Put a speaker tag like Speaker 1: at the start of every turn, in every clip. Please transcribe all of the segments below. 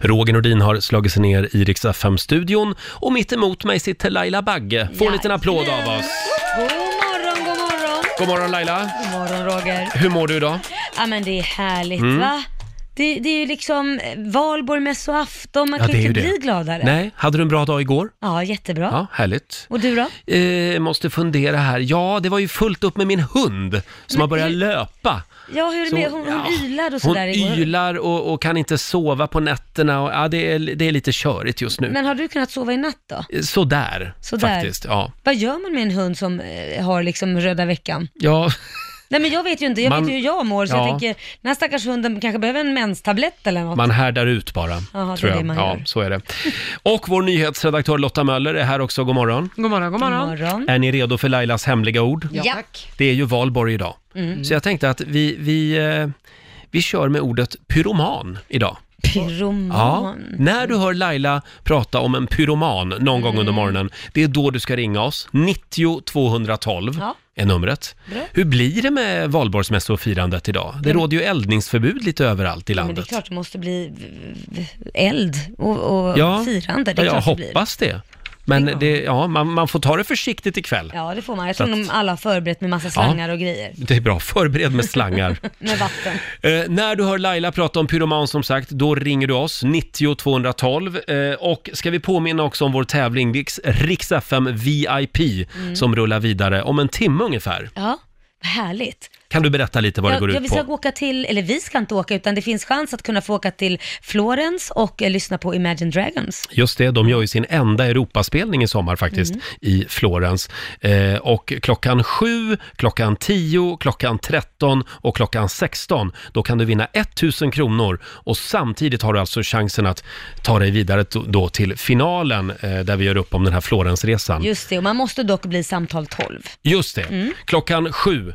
Speaker 1: Roger Nordin har slagit sig ner i Rix FM-studion och mitt emot mig sitter Laila Bagge. Får en liten applåd av oss.
Speaker 2: God morgon, god morgon.
Speaker 1: God morgon Laila!
Speaker 2: God morgon Roger.
Speaker 1: Hur mår du idag?
Speaker 2: Ja men det är härligt
Speaker 1: Mm.
Speaker 2: va? Det, det är ju liksom valborg, mässoafton, man kan ju inte bli gladare.
Speaker 1: Nej, hade du en bra dag igår?
Speaker 2: Ja, jättebra.
Speaker 1: Ja, härligt.
Speaker 2: Och du då?
Speaker 1: Eh, måste fundera här. Ja, det var ju fullt upp med min hund som har börjat löpa.
Speaker 2: Ja, hur är det
Speaker 1: Så,
Speaker 2: med, hon,
Speaker 1: ja,
Speaker 2: hon ylar och
Speaker 1: Hon
Speaker 2: sådär igår.
Speaker 1: ylar och, och kan inte sova på nätterna. Och, ja, det, är, det är lite körigt just nu.
Speaker 2: Men har du kunnat sova i natt då?
Speaker 1: Eh, Sådär,
Speaker 2: Sådär.
Speaker 1: faktiskt. Ja.
Speaker 2: Vad gör man med en hund som eh, har liksom röda veckan?
Speaker 1: Ja,
Speaker 2: Nej men jag vet ju inte, jag
Speaker 1: Man-
Speaker 2: vet ju hur jag mår så jag
Speaker 1: Ja.
Speaker 2: tänker, den här stackars hunden kanske behöver en menstablett eller något.
Speaker 1: man härdar ut bara,
Speaker 2: Jaha, det
Speaker 1: tror
Speaker 2: är
Speaker 1: jag.
Speaker 2: det man
Speaker 1: ja,
Speaker 2: gör.
Speaker 1: så är det. Och vår nyhetsredaktör Lotta Möller är här också. God morgon.
Speaker 2: Mm.
Speaker 3: God morgon, god morgon.
Speaker 1: Är ni redo för Lailas hemliga ord?
Speaker 3: Ja, tack.
Speaker 1: Det är ju valborg idag.
Speaker 3: Mm.
Speaker 1: Så jag tänkte att vi, vi, eh, vi kör med ordet pyroman idag.
Speaker 2: Pyroman.
Speaker 1: Ja, när du hör Laila prata om en pyroman någon gång
Speaker 2: Mm.
Speaker 1: under morgonen, det är då du ska ringa oss. 90 212
Speaker 2: Ja.
Speaker 1: är numret.
Speaker 2: Bra.
Speaker 1: Hur blir det med valborgsmässofirandet idag? Det
Speaker 2: Ja.
Speaker 1: råder ju eldningsförbud lite överallt i
Speaker 2: Men det är
Speaker 1: landet.
Speaker 2: klart det måste bli eld och, och firande. Det är
Speaker 1: ja, jag
Speaker 2: klart det blir.
Speaker 1: hoppas det. Men det, ja, man, man får ta det försiktigt ikväll.
Speaker 2: Ja, det får man. Jag
Speaker 1: Så
Speaker 2: tror
Speaker 1: att-
Speaker 2: de alla har förberett med massa slangar och grejer.
Speaker 1: Det är bra, förbered med slangar.
Speaker 2: Med vatten.
Speaker 1: Eh, när du hör Laila prata om pyroman som sagt, då ringer du oss, 90 212. Eh, och ska vi påminna också om vår tävling Riks, Riks FM VIP
Speaker 2: Mm.
Speaker 1: som rullar vidare om en timme ungefär.
Speaker 2: Ja, vad härligt.
Speaker 1: Kan du berätta lite vad det går
Speaker 2: ja, ja, vi
Speaker 1: ut
Speaker 2: ska
Speaker 1: på?
Speaker 2: åka till, eller vi ska inte åka, utan det finns chans att kunna få åka till Florens och eh, lyssna på Imagine Dragons.
Speaker 1: Just det, de gör ju sin enda Europaspelning i sommar faktiskt,
Speaker 2: Mm.
Speaker 1: i Florens. Eh, och klockan 7, klockan 10, klockan 13 och klockan 16, då kan du vinna 1000 kronor och samtidigt har du alltså chansen att ta dig vidare t- då till finalen eh, där vi gör upp om den här Florensresan. Just,
Speaker 2: Just det, och man måste dock bli samtal 12.
Speaker 1: det,
Speaker 2: Mm.
Speaker 1: klockan 7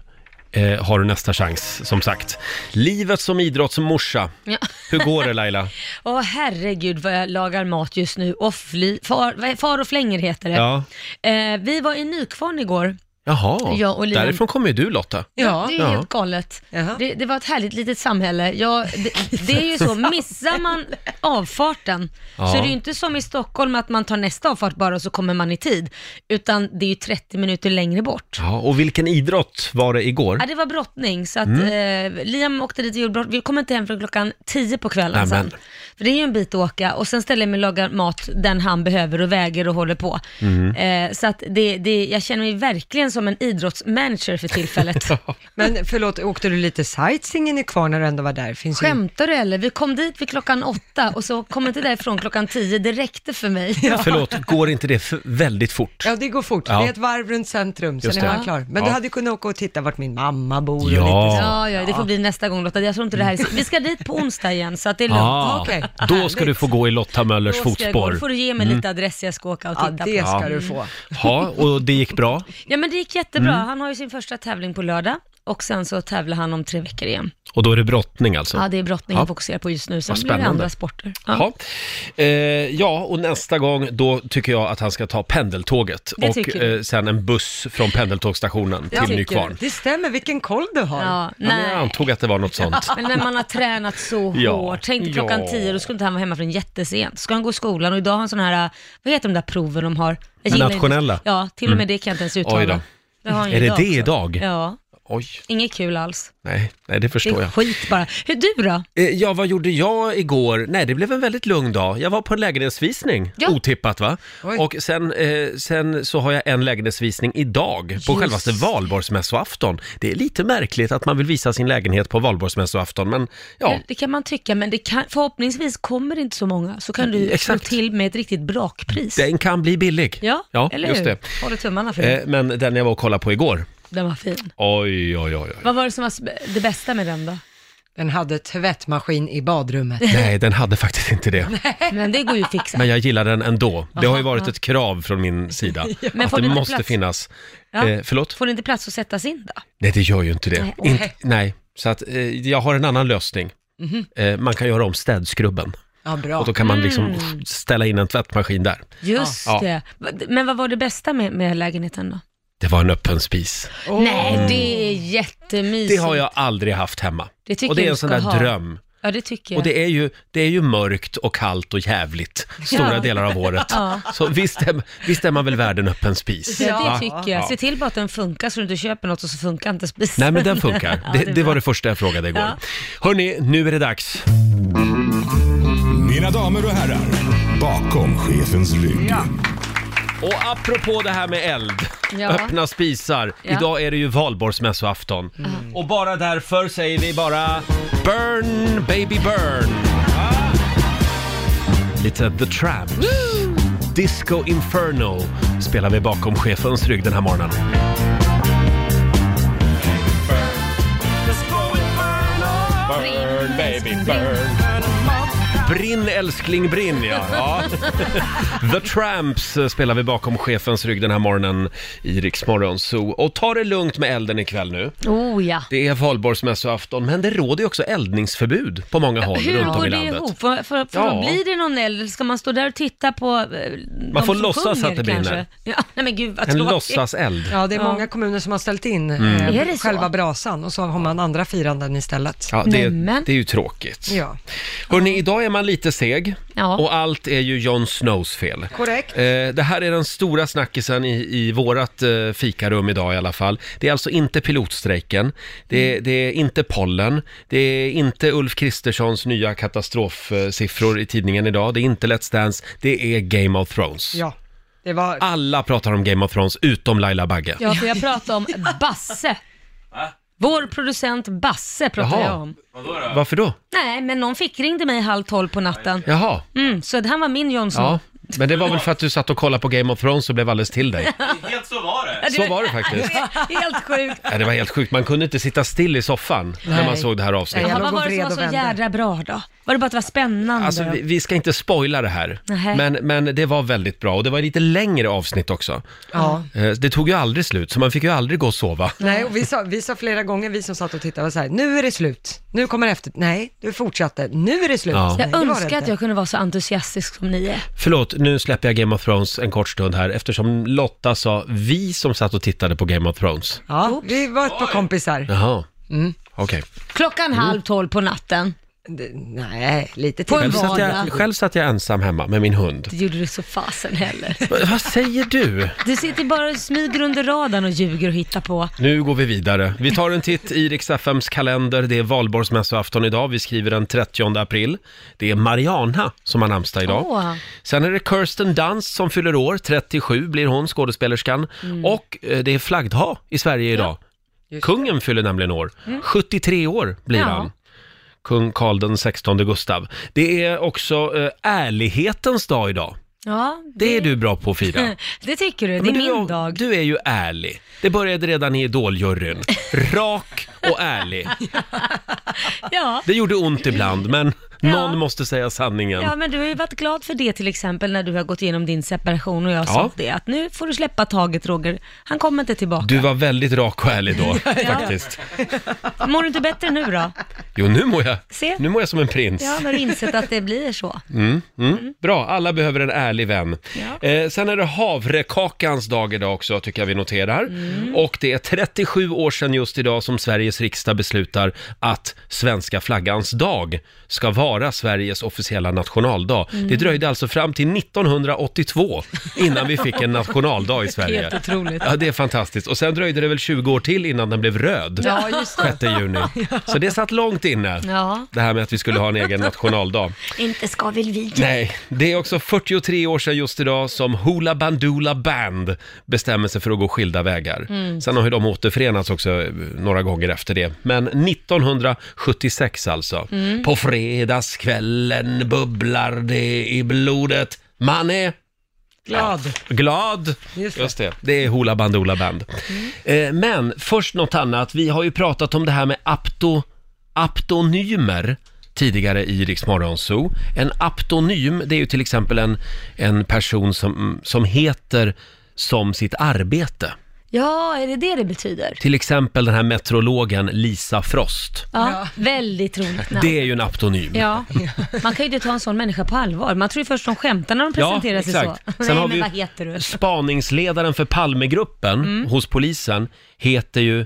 Speaker 1: eh, har du nästa chans, som sagt. Livet som idrottsmorsa.
Speaker 2: Ja.
Speaker 1: Hur går det Laila?
Speaker 2: Åh herregud vad jag lagar mat just nu och fly, far, vad är- far och flänger heter det.
Speaker 1: Ja.
Speaker 2: Eh, vi var i Nykvarn igår.
Speaker 1: Jaha,
Speaker 2: Ja, och Liam-
Speaker 1: därifrån kommer ju du Lotta.
Speaker 2: Det är helt galet. Det, det var ett härligt litet samhälle. Ja, det, det är ju så, missar man avfarten
Speaker 4: Ja.
Speaker 2: så är det ju inte som i Stockholm att man tar nästa avfart bara och så kommer man i tid. Utan det är ju 30 minuter längre bort.
Speaker 1: Ja, och vilken idrott var det igår?
Speaker 2: Ja, det var brottning, så att
Speaker 1: Mm.
Speaker 2: eh, Liam åkte dit och gjorde brott. Vi kom inte hem från klockan 10 på kvällen
Speaker 1: Nämen.
Speaker 2: sen. För det är ju en bit att åka och sen ställer jag mig och lagar mat den han behöver och väger och håller på.
Speaker 1: Mhm.
Speaker 3: Mm.
Speaker 2: Eh, så att det, det, jag känner mig verkligen som en idrottsmanager för tillfället.
Speaker 3: Men förlåt, åkte du lite sightseeing i Nykvarn när du ändå var där?
Speaker 1: Typ.
Speaker 3: Finns ju-
Speaker 2: Skämtar du eller? Vi kom dit vid klockan åtta och så kom inte därifrån klockan tio. Det räckte för mig.
Speaker 1: Förlåt, går inte det för, väldigt fort?
Speaker 3: Ja, det går fort.
Speaker 1: Ja.
Speaker 3: Det är ett varv runt centrum, sen
Speaker 1: Just
Speaker 3: är
Speaker 1: det.
Speaker 3: man klar. Men
Speaker 1: Ja.
Speaker 3: du hade ju kunnat åka och titta vart min mamma bor och
Speaker 1: Ja.
Speaker 3: lite så.
Speaker 2: Ja, ja, det får bli nästa gång Lotta. Jag tror inte det här är... Vi ska dit på onsdag igen, så att det är lugnt.
Speaker 1: Ah, Då ska du få gå i Lotta Möllers
Speaker 2: Då ska jag gå.
Speaker 1: fotspår.
Speaker 2: Då får du ge mig
Speaker 1: Mm.
Speaker 2: lite adress jag ska åka och
Speaker 3: Ja,
Speaker 2: titta
Speaker 3: det
Speaker 2: på.
Speaker 3: ska
Speaker 2: Mm.
Speaker 3: du få.
Speaker 1: Ja, och det gick bra.
Speaker 2: Ja, men det gick jättebra.
Speaker 1: Mm.
Speaker 2: Han har ju sin första tävling på lördag och sen så tävlar han om tre veckor igen.
Speaker 1: Och då är det brottning alltså?
Speaker 2: Ja, det är brottning
Speaker 1: Ja.
Speaker 2: jag fokuserar på just nu. Sen
Speaker 1: Vad
Speaker 2: blir det
Speaker 1: spännande.
Speaker 2: andra sporter. Ja.
Speaker 1: Ja. Eh, ja, och nästa gång då tycker jag att han ska ta pendeltåget
Speaker 2: Det
Speaker 1: och
Speaker 2: tycker du.
Speaker 1: eh, sen en buss från pendeltågsstationen
Speaker 3: Jag
Speaker 1: till
Speaker 3: tycker
Speaker 1: Nykvarn.
Speaker 3: Det stämmer, vilken koll du har.
Speaker 2: Ja,
Speaker 1: Ja, men
Speaker 2: nej.
Speaker 1: jag antog att det var något sånt.
Speaker 2: Men när man har tränat så
Speaker 1: Ja.
Speaker 2: hårt, tänk dig klockan
Speaker 1: Ja.
Speaker 2: tio, då skulle inte han vara hemma förrän jättesent. Ska han gå i skolan och idag har han sån här, vad heter de där proven de har? Jag gillar inte-
Speaker 1: Nationella.
Speaker 2: Ja, till och med
Speaker 1: Mm.
Speaker 2: det kan jag inte ens
Speaker 1: Oj
Speaker 2: uttala.
Speaker 1: då.
Speaker 2: har han ju
Speaker 1: Är det det
Speaker 2: också.
Speaker 1: idag?
Speaker 2: Ja,
Speaker 1: Oj,
Speaker 2: inget kul alls.
Speaker 1: nej, nej det
Speaker 2: Det
Speaker 1: förstår
Speaker 2: är
Speaker 1: jag.
Speaker 2: skit bara. Hur du då?
Speaker 1: Eh, Ja, vad gjorde jag igår? Nej, det blev en väldigt lugn dag. Jag var på en lägenhetsvisning,
Speaker 2: Ja.
Speaker 1: otippat va?
Speaker 2: Oj.
Speaker 1: Och sen, eh, sen så har jag en lägenhetsvisning idag, på
Speaker 2: Just.
Speaker 1: självaste valborgsmässoafton. Det är lite märkligt att man vill visa sin lägenhet på valborgsmässoafton, men ja.
Speaker 2: Det kan man tycka, men det kan, förhoppningsvis kommer det inte så många, så kan du slå
Speaker 1: Exakt.
Speaker 2: till med ett riktigt brakpris.
Speaker 1: Den kan bli billig.
Speaker 2: Ja,
Speaker 1: ja
Speaker 2: eller
Speaker 1: just
Speaker 2: hur?
Speaker 1: det.
Speaker 2: Håller tummarna för det.
Speaker 1: Eh, men den jag var och kollade på igår,
Speaker 2: Den var fin.
Speaker 1: oj, oj, oj. oj.
Speaker 2: Vad var det som var sp- det bästa med
Speaker 1: Eh.
Speaker 2: den då?
Speaker 3: Den hade tvättmaskin i badrummet.
Speaker 1: Nej, den hade faktiskt inte det.
Speaker 2: Men det går ju att fixa.
Speaker 1: Men jag gillar den ändå. Det har ju varit
Speaker 2: Aha.
Speaker 1: ett krav från min sida.
Speaker 2: Ja. Men
Speaker 1: Att
Speaker 2: får
Speaker 1: det
Speaker 2: du inte
Speaker 1: måste
Speaker 2: plats?
Speaker 1: finnas.
Speaker 2: Ja.
Speaker 1: Eh, förlåt?
Speaker 2: Får det inte plats att sättas in då?
Speaker 1: Nej, det gör ju inte det.
Speaker 2: Nej.
Speaker 1: Inte- nej, så att eh, jag har en annan lösning.
Speaker 2: Mhm.
Speaker 1: Eh, man kan göra om städskrubben.
Speaker 3: Ja, bra.
Speaker 1: Och då kan man liksom
Speaker 2: Mm.
Speaker 1: ställa in en tvättmaskin där.
Speaker 2: Just
Speaker 1: Ja.
Speaker 2: det. Va- Men vad var det bästa med, med lägenheten då?
Speaker 1: Det var en öppen spis.
Speaker 2: Nej, det är jättemysigt.
Speaker 1: Det har jag aldrig haft hemma.
Speaker 2: Det tycker
Speaker 1: och det är
Speaker 2: jag
Speaker 1: en
Speaker 2: du
Speaker 1: sån
Speaker 2: ska
Speaker 1: där
Speaker 2: ha.
Speaker 1: dröm
Speaker 2: Ja, det tycker jag.
Speaker 1: Och det är, ju, det är ju mörkt och kallt och jävligt stora
Speaker 2: Ja.
Speaker 1: delar av året.
Speaker 2: Ja.
Speaker 1: Så visst är, visst är man väl värd en öppen spis?
Speaker 2: Ja,
Speaker 1: Va?
Speaker 2: det tycker jag. Se till bara att den funkar så du inte köper något och så funkar inte spisen.
Speaker 1: Nej, men den funkar.
Speaker 2: Ja,
Speaker 1: Det,
Speaker 2: är
Speaker 1: det var
Speaker 2: bra.
Speaker 1: det första jag frågade igår.
Speaker 2: Ja.
Speaker 1: Hörni, nu är det dags.
Speaker 4: Mina damer och herrar, bakom chefens rygg.
Speaker 1: Och apropå det här med eld,
Speaker 2: Ja.
Speaker 1: öppna spisar.
Speaker 2: Ja. Mm.
Speaker 1: Idag är det ju valborgsmässoafton. Och bara därför säger vi bara Burn baby burn!
Speaker 2: Ah.
Speaker 1: Lite The Tramps. Disco Inferno spelar vi bakom chefens rygg den här morgonen. Burn baby burn. Brinn älskling brinn ja. ja. The Tramps spelar vi bakom chefens rygg den här morgonen i Rix Morgon Zoo. Och ta det lugnt med elden ikväll nu.
Speaker 2: Oh ja.
Speaker 1: Det är valborgsmässoafton, men det råder ju också eldningsförbud på många håll
Speaker 2: Hur
Speaker 1: runt om
Speaker 2: går
Speaker 1: i
Speaker 2: det
Speaker 1: landet.
Speaker 2: ihop? För, för, för
Speaker 1: Ja.
Speaker 2: Blir det någon eld eller ska man stå där och titta på eh, Man
Speaker 1: får låtsas att det brinner.
Speaker 2: Ja, nej men gud vad
Speaker 1: En
Speaker 2: tråkigt.
Speaker 1: låtsaseld.
Speaker 3: Ja, det är
Speaker 2: Ja.
Speaker 3: många kommuner som har ställt in
Speaker 1: Mm.
Speaker 3: eh,
Speaker 2: Är det så?
Speaker 3: själva brasan och så har man andra firanden istället.
Speaker 1: Ja, det,
Speaker 2: Nämen.
Speaker 1: det är ju tråkigt.
Speaker 3: Ja.
Speaker 1: Hörrni, idag är man lite seg
Speaker 2: Ja.
Speaker 1: och allt är ju Jon Snows fel.
Speaker 3: Korrekt.
Speaker 1: Eh, det här är den stora snackisen i, i vårat eh, fikarum idag i alla fall. Det är alltså inte pilotstrejken, det, det är inte pollen, det är inte Ulf Kristerssons nya katastrofsiffror i tidningen idag, det är inte Let's Dance, det är Game of Thrones.
Speaker 3: Ja, det var...
Speaker 2: Ah.
Speaker 1: Alla pratar om Game of Thrones, utom Laila Bagge.
Speaker 2: Ja, för jag pratar om Basse. Vår producent Basse pratar
Speaker 1: Jaha.
Speaker 2: jag om.
Speaker 1: Varför då?
Speaker 2: Nej, men någon fick ringde mig halv tolv på natten.
Speaker 1: Jaha,
Speaker 2: Mm, så det- han var min Jonsson.
Speaker 1: ja. Men det var väl för att du satt och kollade på Game of Thrones och blev alldeles till dig.
Speaker 5: Helt så var det.
Speaker 1: Så var det faktiskt.
Speaker 2: Helt sjukt.
Speaker 1: Ja, det var helt sjukt, man kunde inte sitta still i soffan när
Speaker 3: Nej.
Speaker 1: man såg det här avsnittet.
Speaker 3: Nej,
Speaker 2: Jaha,
Speaker 3: jag
Speaker 2: vad
Speaker 3: låg
Speaker 2: var
Speaker 3: och
Speaker 2: det som
Speaker 3: vred
Speaker 2: var
Speaker 3: och
Speaker 2: så
Speaker 3: vände.
Speaker 2: jädra bra då? Var det bara att det var spännande?
Speaker 1: Alltså, vi, vi ska inte spoila det här,
Speaker 2: Nähä.
Speaker 1: men, men det var väldigt bra och det var lite längre avsnitt också.
Speaker 3: Ja.
Speaker 1: Eh, Det tog ju aldrig slut, så man fick ju aldrig gå och sova.
Speaker 3: Nej, och vi sa, vi sa flera gånger, vi som satt och tittade, var så här, nu är det slut. Nu kommer efter. Nej, du fortsatte. Nu är det slut.
Speaker 1: Ja.
Speaker 3: Nej,
Speaker 2: Jag
Speaker 3: det var det
Speaker 2: önskar att
Speaker 3: inte.
Speaker 2: jag kunde vara så entusiastisk som ni är.
Speaker 1: Förlåt, nu släpper jag Game of Thrones en kort stund här eftersom Lotta sa vi som satt och tittade på Game of Thrones.
Speaker 3: Ja, vi var ett par kompisar.
Speaker 1: Jaha.
Speaker 3: Mm.
Speaker 1: Okej.
Speaker 2: Klockan halv tolv på natten.
Speaker 3: Det- Nej, lite
Speaker 2: På en
Speaker 1: Själv,
Speaker 3: till.
Speaker 2: va-
Speaker 1: satt jag-
Speaker 2: Vardag.
Speaker 1: själv satt jag ensam hemma med min hund.
Speaker 2: Det gjorde du så fasen heller.
Speaker 1: Va- Vad säger du?
Speaker 2: Du sitter bara och smyger under radarn och ljuger och hittar på.
Speaker 1: Nu går vi vidare. Vi tar en titt i Rix FMs kalender. Det är valborgsmässoafton idag. Vi skriver den 30 april. Det är Mariana som har namnsdag idag.
Speaker 2: Åh.
Speaker 1: Sen är det Kirsten Dunst som fyller år. 37 blir hon, skådespelerskan. Och eh, det är flaggdag i Sverige idag. Kungen fyller nämligen år. 73 år blir
Speaker 2: Ja.
Speaker 1: han. Kung Karl den 16 Gustav. Det är också eh, ärlighetens dag idag.
Speaker 2: Ja,
Speaker 1: Det är du bra på att fira.
Speaker 2: det tycker du. Det
Speaker 1: Ja, men
Speaker 2: är
Speaker 1: du,
Speaker 2: min
Speaker 1: är-
Speaker 2: dag.
Speaker 1: Du är ju ärlig. Det började redan i Idoljuryn. Rak och ärlig.
Speaker 2: Ja.
Speaker 1: Det gjorde ont ibland, men
Speaker 2: Ja.
Speaker 1: någon måste säga sanningen.
Speaker 2: ja, men du har ju varit glad för det till exempel när du har gått igenom din separation och jag
Speaker 1: Ja.
Speaker 2: sa det. Att nu får du släppa taget Roger. Han kommer inte tillbaka.
Speaker 1: Du var väldigt rak och ärlig då, faktiskt.
Speaker 2: Mår du inte bättre nu då?
Speaker 1: Jo, nu mår jag,
Speaker 2: Se.
Speaker 1: nu mår jag som en prins.
Speaker 2: Ja, har du insett att det blir så?
Speaker 1: Mm. Bra, alla behöver en ärlig vän. Eh, sen är det havrekakans dag idag också, tycker jag vi noterar.
Speaker 2: Mm.
Speaker 1: Och det är 37 år sedan just idag som Sveriges riksdag beslutar att svenska flaggans dag ska vara Sveriges officiella nationaldag.
Speaker 2: Mm.
Speaker 1: Det dröjde alltså fram till 1982 innan vi fick en nationaldag i Sverige.
Speaker 2: Helt otroligt.
Speaker 1: Ja, det är fantastiskt. Och sen dröjde det väl 20 år till innan den blev röd.
Speaker 3: Ja, just det.
Speaker 1: 6 juni. Så det satt långt inne,
Speaker 2: Ja.
Speaker 1: det här med att vi skulle ha en egen nationaldag.
Speaker 2: Inte ska väl vi?
Speaker 1: Nej, det är också 43 år sedan just idag som Hoola Bandoola Band bestämmer sig för att gå skilda vägar.
Speaker 3: Mm.
Speaker 1: Sen har ju de återförenats också eh, några gånger efter det. Men 1976 alltså.
Speaker 3: Mm.
Speaker 1: På fredagskvällen bubblar det i blodet. Man är
Speaker 3: Glad.
Speaker 1: glad.
Speaker 3: Just det.
Speaker 1: Just det, det är Hoola Bandoola Band. Eh, Men först något annat. Vi har ju pratat om det här med apto, aptonymer tidigare i Rix Morgon Zoo. En aptonym, det är ju till exempel en, en person som, som heter som sitt arbete.
Speaker 2: Ja, är det det det betyder?
Speaker 1: Till exempel den här meteorologen Lisa Frost.
Speaker 2: Ja, väldigt roligt namn.
Speaker 1: Det är ju en aptonym.
Speaker 2: Ja, man kan ju inte ta en sån människa på allvar. Man tror ju först de skämtar när de presenterar sig så.
Speaker 1: Sen
Speaker 2: Nej,
Speaker 1: har
Speaker 2: men
Speaker 1: vi ju
Speaker 2: vad heter du? Mm.
Speaker 1: spaningsledaren för Palmegruppen hos polisen heter ju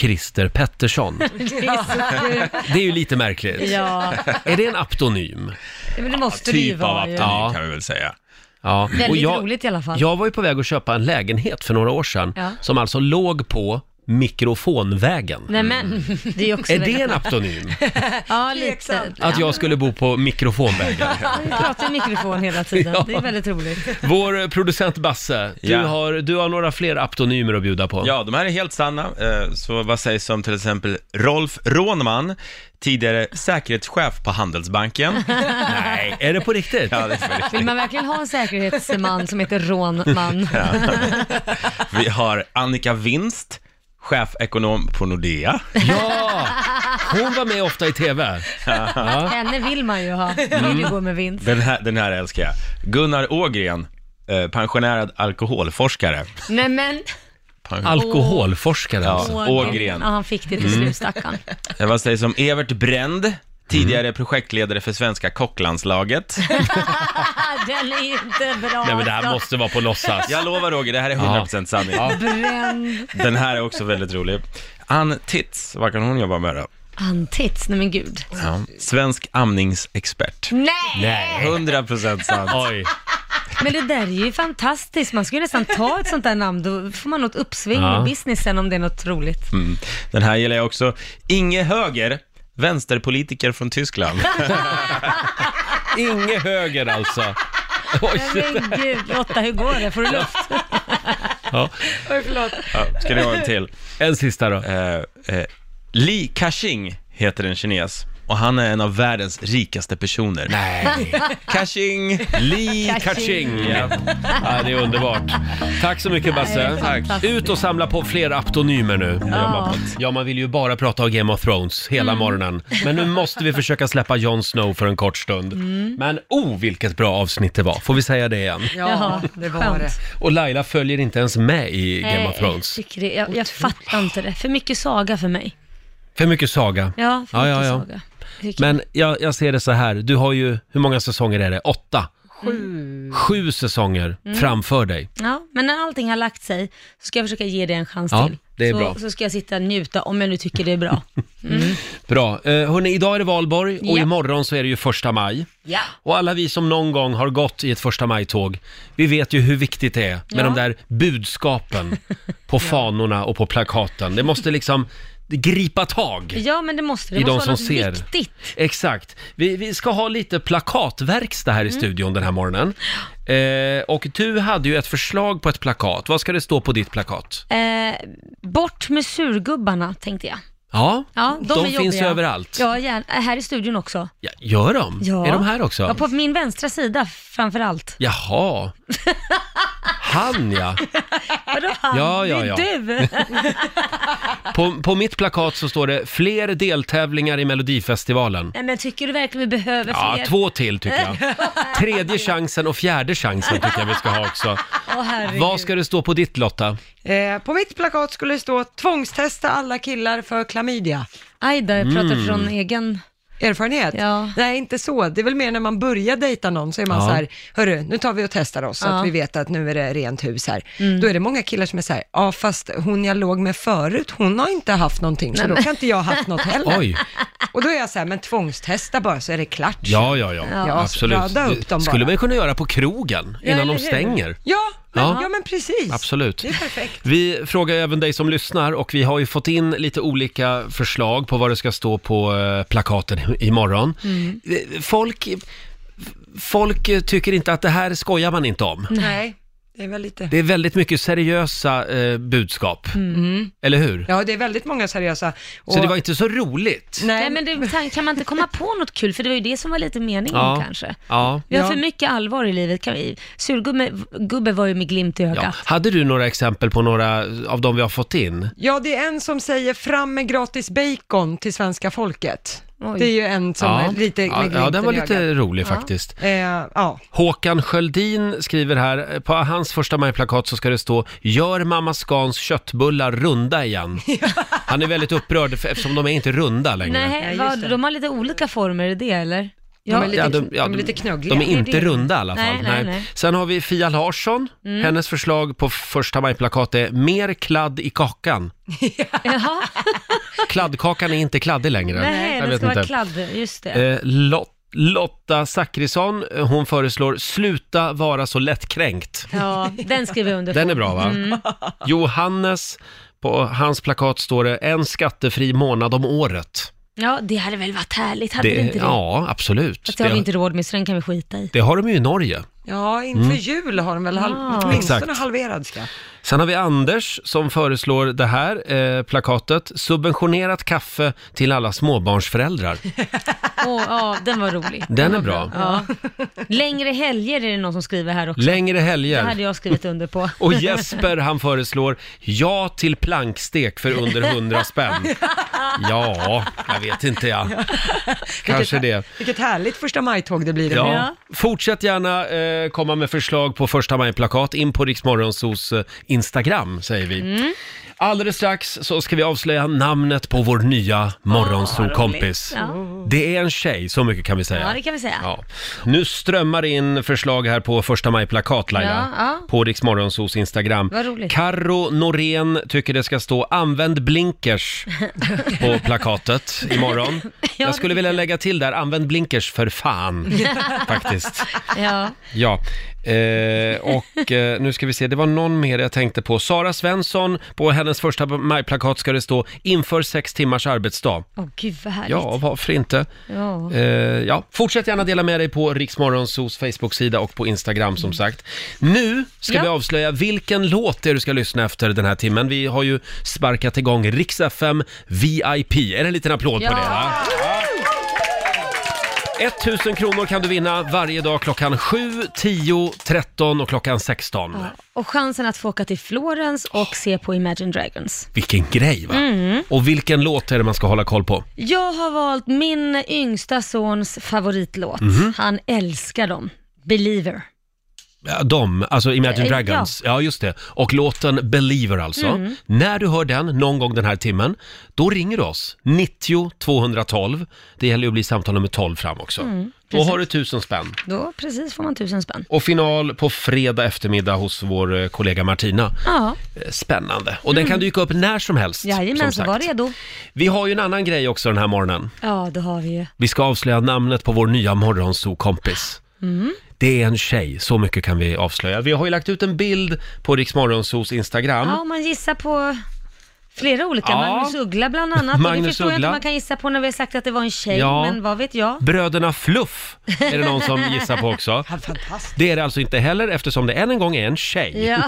Speaker 1: Christer Pettersson.
Speaker 2: Det är så kul.
Speaker 1: Det är ju lite märkligt.
Speaker 2: Ja,
Speaker 1: Är det en aptonym?
Speaker 2: men det måste det ju
Speaker 5: Typ av
Speaker 2: vara ju.
Speaker 5: aptonym
Speaker 1: Ja.
Speaker 5: kan vi väl säga.
Speaker 1: Ja.
Speaker 2: Väldigt
Speaker 1: Och jag,
Speaker 2: roligt i alla fall.
Speaker 1: jag var ju på väg att köpa en lägenhet för några år sedan
Speaker 2: Ja.
Speaker 1: som alltså låg på mikrofonvägen.
Speaker 2: Nej men, det är ju också
Speaker 1: Är det en
Speaker 2: väldigt-
Speaker 1: aptonym?
Speaker 2: Ja, lite.
Speaker 3: Tveksamt.
Speaker 1: Att jag skulle bo på mikrofonvägen?
Speaker 2: Ja, vi pratar i mikrofon hela tiden.
Speaker 1: Ja.
Speaker 2: Det är väldigt roligt.
Speaker 1: Vår eh, producent Basse, du,
Speaker 5: Ja.
Speaker 1: har, du har några fler aptonymer att bjuda på.
Speaker 5: Ja, de här är helt sanna. Eh, Så vad sägs om till exempel Rolf Rånman, tidigare säkerhetschef på Handelsbanken? Nej.
Speaker 1: Är det på riktigt?
Speaker 5: Ja, det är för
Speaker 2: Vill
Speaker 5: riktigt.
Speaker 2: man verkligen ha en säkerhetsman som heter Rånman?
Speaker 5: Vi har Annika Winst, chefekonom på Nordea.
Speaker 1: Ja! Hon var med ofta i TV.
Speaker 2: Henne vill man ju ha. Vill
Speaker 1: Mm.
Speaker 2: ju gå med vinst.
Speaker 5: Den här, den här älskar jag. Gunnar Ågren, eh, pensionerad alkoholforskare.
Speaker 2: Nej men,
Speaker 5: Pension-
Speaker 1: Alkoholforskare
Speaker 5: Ja.
Speaker 1: alltså.
Speaker 5: Ågren.
Speaker 2: Ja, han fick det till
Speaker 1: Mm.
Speaker 2: slut, stackarn.
Speaker 5: Eh, Vad sägs om Evert Bränd, tidigare projektledare för svenska kocklandslaget?
Speaker 2: Den är ju inte bra.
Speaker 1: Nej men det här måste vara på låtsas.
Speaker 5: Jag lovar Roger, det här är 100% sanning.
Speaker 2: Bränd.
Speaker 5: Den här är också väldigt rolig. Ann Titz, vad kan hon jobba med då?
Speaker 2: Antits, nej men gud.
Speaker 5: Ja. Svensk amningsexpert.
Speaker 2: Nej!
Speaker 5: 100% sant.
Speaker 1: Oj.
Speaker 2: Men det där är ju fantastiskt. Man skulle ju nästan ta ett sånt där namn, då får man något uppsving
Speaker 1: Ja.
Speaker 2: med businessen om det är något roligt.
Speaker 5: Mm. Den här gillar jag också. Inge Höger, vänsterpolitiker från Tyskland.
Speaker 1: Inge höger alltså. Oj.
Speaker 2: Nej, men gud, Lotta, hur går det? Får du luft?
Speaker 1: Ja.
Speaker 3: Oj, förlåt.
Speaker 5: Ja, ska ni ha en till?
Speaker 1: En sista då.
Speaker 5: Eh, eh, Li Ka-shing heter en kines och han är en av världens rikaste personer.
Speaker 1: Nej.
Speaker 5: Ka-shing!
Speaker 1: Li
Speaker 2: Ka-ching.
Speaker 1: Ka-ching. Ja. Ja, det är underbart. Tack så mycket Basse.
Speaker 2: Tack.
Speaker 1: Ut och samla på fler aptonymer nu.
Speaker 2: Ja. Mm.
Speaker 1: Ja, man vill ju bara prata om Game of Thrones hela morgonen. Men nu måste vi försöka släppa Jon Snow för en kort stund.
Speaker 2: Mm.
Speaker 1: Men oh, vilket bra avsnitt det var. Får vi säga det igen?
Speaker 3: Ja, det var
Speaker 2: skönt.
Speaker 3: det.
Speaker 1: Och Laila följer inte ens med i Game
Speaker 2: Nej,
Speaker 1: of Thrones.
Speaker 2: Jag, tycker det, jag, jag fattar inte det. För mycket saga för mig.
Speaker 1: För mycket saga.
Speaker 2: Ja, för
Speaker 1: Ja,
Speaker 2: mycket
Speaker 1: ja, ja.
Speaker 2: saga. Tycker
Speaker 1: Men jag, jag ser det så här, du har ju, hur många säsonger är det? Åtta? Sju. Sju säsonger
Speaker 2: Mm.
Speaker 1: framför dig.
Speaker 2: jag. ja, men när allting har lagt sig så ska jag försöka ge det en chans
Speaker 1: Ja,
Speaker 2: till.
Speaker 1: det är
Speaker 2: så,
Speaker 1: bra.
Speaker 2: så ska jag sitta och njuta om jag nu tycker det är bra.
Speaker 1: Bra. Eh, hörni, idag är det valborg och
Speaker 2: Ja.
Speaker 1: imorgon så är det ju första maj.
Speaker 2: ja.
Speaker 1: Och alla vi som någon gång har gått i ett första maj-tåg, vi vet ju hur viktigt det är med
Speaker 2: Ja.
Speaker 1: de där budskapen på fanorna och på plakaten. Det måste liksom gripa tag.
Speaker 2: ja, men det måste det.
Speaker 1: I
Speaker 2: Det
Speaker 1: de
Speaker 2: måste vara något
Speaker 1: som ser.
Speaker 2: viktigt.
Speaker 1: Exakt. Vi, vi ska ha lite plakatverkstad här i
Speaker 2: Mm.
Speaker 1: studion den här morgonen. Eh, och du hade ju ett förslag på ett plakat. Vad ska det stå på ditt plakat?
Speaker 2: Eh, bort med surgubbarna, tänkte jag.
Speaker 1: Ja,
Speaker 2: Ja, de,
Speaker 1: de
Speaker 2: är
Speaker 1: finns
Speaker 2: jobbiga.
Speaker 1: ju överallt.
Speaker 2: Ja, gärna. Äh, här i studion också.
Speaker 1: Ja, gör de?
Speaker 2: Ja.
Speaker 1: Är de här också?
Speaker 2: Ja, på min vänstra sida framför allt.
Speaker 1: Jaha. Han ja.
Speaker 2: Vadå han?
Speaker 1: Ja, ja, ja.
Speaker 2: Det är du!
Speaker 1: På, på mitt plakat så står det fler deltävlingar i Melodifestivalen.
Speaker 2: Nej, men tycker du verkligen vi behöver
Speaker 1: Ja,
Speaker 2: fler?
Speaker 1: två till tycker jag. Tredje chansen och fjärde chansen tycker jag vi ska ha också.
Speaker 2: Åh, herregud.
Speaker 1: Vad ska det stå på ditt Lotta?
Speaker 3: Eh, på mitt plakat skulle det stå tvångstesta alla killar för klamydia.
Speaker 2: Aj då, jag
Speaker 1: Mm.
Speaker 2: pratar från egen...
Speaker 3: Erfarenhet?
Speaker 2: Ja.
Speaker 3: Nej, inte så. Det är väl mer när man börjar dejta någon så är man
Speaker 1: Ja.
Speaker 3: så här, hörru, nu tar vi och testar oss så
Speaker 2: Ja. Mm.
Speaker 3: att vi vet att nu är det rent hus här. Då är det många killar som är så här, ja fast hon jag låg med förut, hon har inte haft någonting, så då kan inte jag ha haft något heller.
Speaker 1: Oj.
Speaker 3: Och då är jag så här, men tvångstesta bara så är det klart.
Speaker 1: Ja, ja, ja.
Speaker 3: Ja,
Speaker 1: Absolut.
Speaker 3: rada upp dem
Speaker 1: Det skulle
Speaker 3: bara.
Speaker 1: man kunna göra på krogen
Speaker 2: Ja,
Speaker 1: innan
Speaker 2: eller
Speaker 1: de
Speaker 2: hur?
Speaker 1: stänger.
Speaker 3: Ja, men,
Speaker 1: Ja.
Speaker 3: ja. men precis.
Speaker 1: Absolut.
Speaker 3: Det är perfekt.
Speaker 1: Vi frågar även dig som lyssnar och vi har ju fått in lite olika förslag på vad det ska stå på eh, plakaten i- imorgon. Eh, Folk, folk eh, tycker inte att det här skojar man inte om.
Speaker 3: Nej, det är väl lite...
Speaker 1: Det är väldigt mycket seriösa eh, budskap, eller hur?
Speaker 3: Ja, det är väldigt många seriösa. Och...
Speaker 1: Så det var inte så roligt.
Speaker 2: Nej, men det, tan- kan man inte komma på något kul? För det var ju det som var lite meningen
Speaker 1: Ja.
Speaker 2: kanske.
Speaker 1: Ja.
Speaker 2: Vi har
Speaker 3: Ja.
Speaker 2: för mycket allvar i livet. Kan vi... Surgubbe gubbe var ju med glimt i
Speaker 1: Ja.
Speaker 2: ögat.
Speaker 1: Hade du några exempel på några av de vi har fått in?
Speaker 3: Ja, det är en som säger fram med gratis bacon till svenska folket.
Speaker 2: Oj.
Speaker 3: Det är ju en som är lite med
Speaker 1: ja, ja,
Speaker 3: glimten
Speaker 1: den var
Speaker 3: i
Speaker 1: lite
Speaker 3: ögat.
Speaker 1: rolig faktiskt.
Speaker 3: Eh, ja.
Speaker 1: Håkan Sköldin skriver här, på hans första majplakat så ska det stå “Gör mamma Scans köttbullar runda igen”. Han är väldigt upprörd för- eftersom de är inte runda längre.
Speaker 2: Nej,
Speaker 3: Ja,
Speaker 2: vad,
Speaker 3: just det.
Speaker 2: de har lite olika former i det eller?
Speaker 3: De är lite,
Speaker 1: Ja,
Speaker 3: de,
Speaker 1: ja,
Speaker 3: är lite knöggliga.
Speaker 1: De är inte
Speaker 2: det.
Speaker 1: runda i alla fall.
Speaker 2: Nej, nej, nej.
Speaker 1: Sen har vi Fia Larsson.
Speaker 3: Mm.
Speaker 1: Hennes förslag på första maj-plakat är “Mer kladd i kakan”.
Speaker 2: Jaha,
Speaker 1: Kladdkakan är inte kladdig längre.
Speaker 2: nej, det ska vara kladd. Just det.
Speaker 1: Eh, Lot- Lotta Zachrisson, eh, hon föreslår “Sluta vara så lättkränkt”.
Speaker 2: Ja, den skriver jag under på. Mm.
Speaker 1: Den är bra va? Johannes, på hans plakat står det “En skattefri månad om året”.
Speaker 2: Ja, det hade väl varit härligt, hade det, inte det?
Speaker 1: Ja, absolut.
Speaker 2: Fast det har
Speaker 1: Det-
Speaker 2: vi inte råd med, så den kan vi skita i.
Speaker 1: det har de ju i Norge.
Speaker 3: Ja, inför jul har de väl halv,
Speaker 2: Ah.
Speaker 3: åtminstone
Speaker 1: Mm. Exakt.
Speaker 3: halverad skatt.
Speaker 1: Sen har vi Anders som föreslår det här eh, plakatet. Subventionerat kaffe till alla småbarnsföräldrar.
Speaker 2: Åh, ja, den var rolig.
Speaker 1: Den är bra.
Speaker 2: Ja. Längre helger är det någon som skriver här också.
Speaker 1: Längre
Speaker 2: Det hade
Speaker 1: helger.
Speaker 2: jag skrivit under på.
Speaker 1: Och Jesper han föreslår ja till plankstek för under 100 spänn. Ja, jag vet inte jag. Kanske det.
Speaker 3: Vilket härligt första majtåg det blir.
Speaker 1: Ja.
Speaker 2: Ja.
Speaker 1: Fortsätt gärna eh, komma med förslag på första maj-plakat in på Riksmorgonsos eh, Instagram, säger vi.
Speaker 2: Mm.
Speaker 1: Alldeles strax så ska vi avslöja namnet på vår nya morgonsokompis. Det är en tjej, så mycket kan vi säga.
Speaker 2: Ja, det kan vi säga.
Speaker 1: Ja. Nu strömmar det in förslag här på första maj-plakat, Laila,
Speaker 2: Ja, ja.
Speaker 1: på Riksmorgonsos Instagram.
Speaker 2: Vad roligt.
Speaker 1: Karro Norén tycker det ska stå “Använd blinkers” på plakatet imorgon. Jag skulle vilja lägga till där “Använd blinkers för fan”, faktiskt.
Speaker 2: Ja.
Speaker 1: Ja, eh, och eh, nu ska vi se, det var någon mer jag tänkte på. Sara Svensson, på hennes första majplakat ska det stå “Inför sex timmars arbetsdag”.
Speaker 2: Åh gud vad härligt.
Speaker 1: Ja, varför inte?
Speaker 2: Ja.
Speaker 1: Eh, ja. Fortsätt gärna dela med dig på Riksmorgonsos Facebook-sida och på Instagram som sagt. Nu ska
Speaker 2: Mm. Ja.
Speaker 1: vi avslöja vilken låt det är du ska lyssna efter den här timmen. Vi har ju sparkat igång Rix FM VIP. Är det en liten applåd
Speaker 2: Ja.
Speaker 1: på det? Va? 1000 kronor kan du vinna varje dag klockan 7, 10, 13 och klockan 16.
Speaker 2: Och chansen att få åka till Florens och se på Imagine Dragons.
Speaker 1: Vilken grej va?
Speaker 2: Mm.
Speaker 1: Och vilken låt är det man ska hålla koll på?
Speaker 2: Jag har valt min yngsta sons favoritlåt.
Speaker 1: Mhm.
Speaker 2: Han älskar dem. Believer.
Speaker 1: Ja, De, alltså Imagine
Speaker 2: Eh, ja. Mm.
Speaker 1: Dragons. Ja. just det. Och låten Believer alltså. När du hör den någon gång den här timmen, då ringer du oss. 90 212. Det gäller ju att bli samtal nummer 12 fram också.
Speaker 2: Mm,
Speaker 1: då har du tusen spänn.
Speaker 2: Då precis får man tusen spänn.
Speaker 1: Och final på fredag eftermiddag hos vår eh, kollega Martina.
Speaker 2: Ja,
Speaker 1: Eh, Spännande. Och den kan dyka upp när som helst. som
Speaker 2: Mm. jajamän så
Speaker 1: sagt.
Speaker 2: var redo.
Speaker 1: Vi har ju en annan grej också den här morgonen.
Speaker 2: Ja, det har vi ju.
Speaker 1: Vi ska avslöja namnet på vår nya morgonsokompis.
Speaker 2: Mm.
Speaker 1: Det är en tjej, så mycket kan vi avslöja. Vi har ju lagt ut en bild på Rix Morgonzos Instagram.
Speaker 2: Ja, om man gissar på flera olika.
Speaker 1: Ja.
Speaker 2: Magnus Uggla bland annat. och
Speaker 1: Magnus
Speaker 2: det förstår jag inte
Speaker 1: Uggla.
Speaker 2: om man kan gissa på när vi har sagt att det var en tjej,
Speaker 1: Ja.
Speaker 2: men vad vet jag?
Speaker 1: Bröderna Fluff är det någon som gissar på också.
Speaker 3: Fantastiskt.
Speaker 1: Det är det alltså inte heller eftersom det än en gång är en tjej.
Speaker 2: Ja.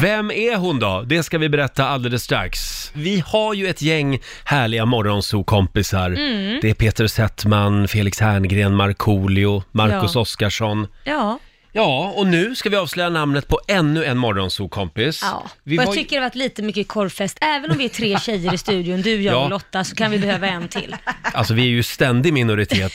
Speaker 1: Vem är hon då? Det ska vi berätta alldeles strax. Vi har ju ett gäng härliga morgonsokompisar.
Speaker 2: Mm.
Speaker 1: Det är Peter Settman, Felix Herngren, Markoolio, Marcus
Speaker 2: Ja.
Speaker 1: Oskarsson.
Speaker 2: ja.
Speaker 1: Ja, och nu ska vi avslöja namnet på ännu en morgonsokompis.
Speaker 2: Ja,
Speaker 1: Vi
Speaker 2: och jag
Speaker 1: var ju-
Speaker 2: tycker det har varit lite mycket korvfest. Även om vi är tre tjejer i studion, du, jag
Speaker 1: Ja.
Speaker 2: och Lotta, så kan vi behöva en till.
Speaker 1: Alltså vi är ju ständig minoritet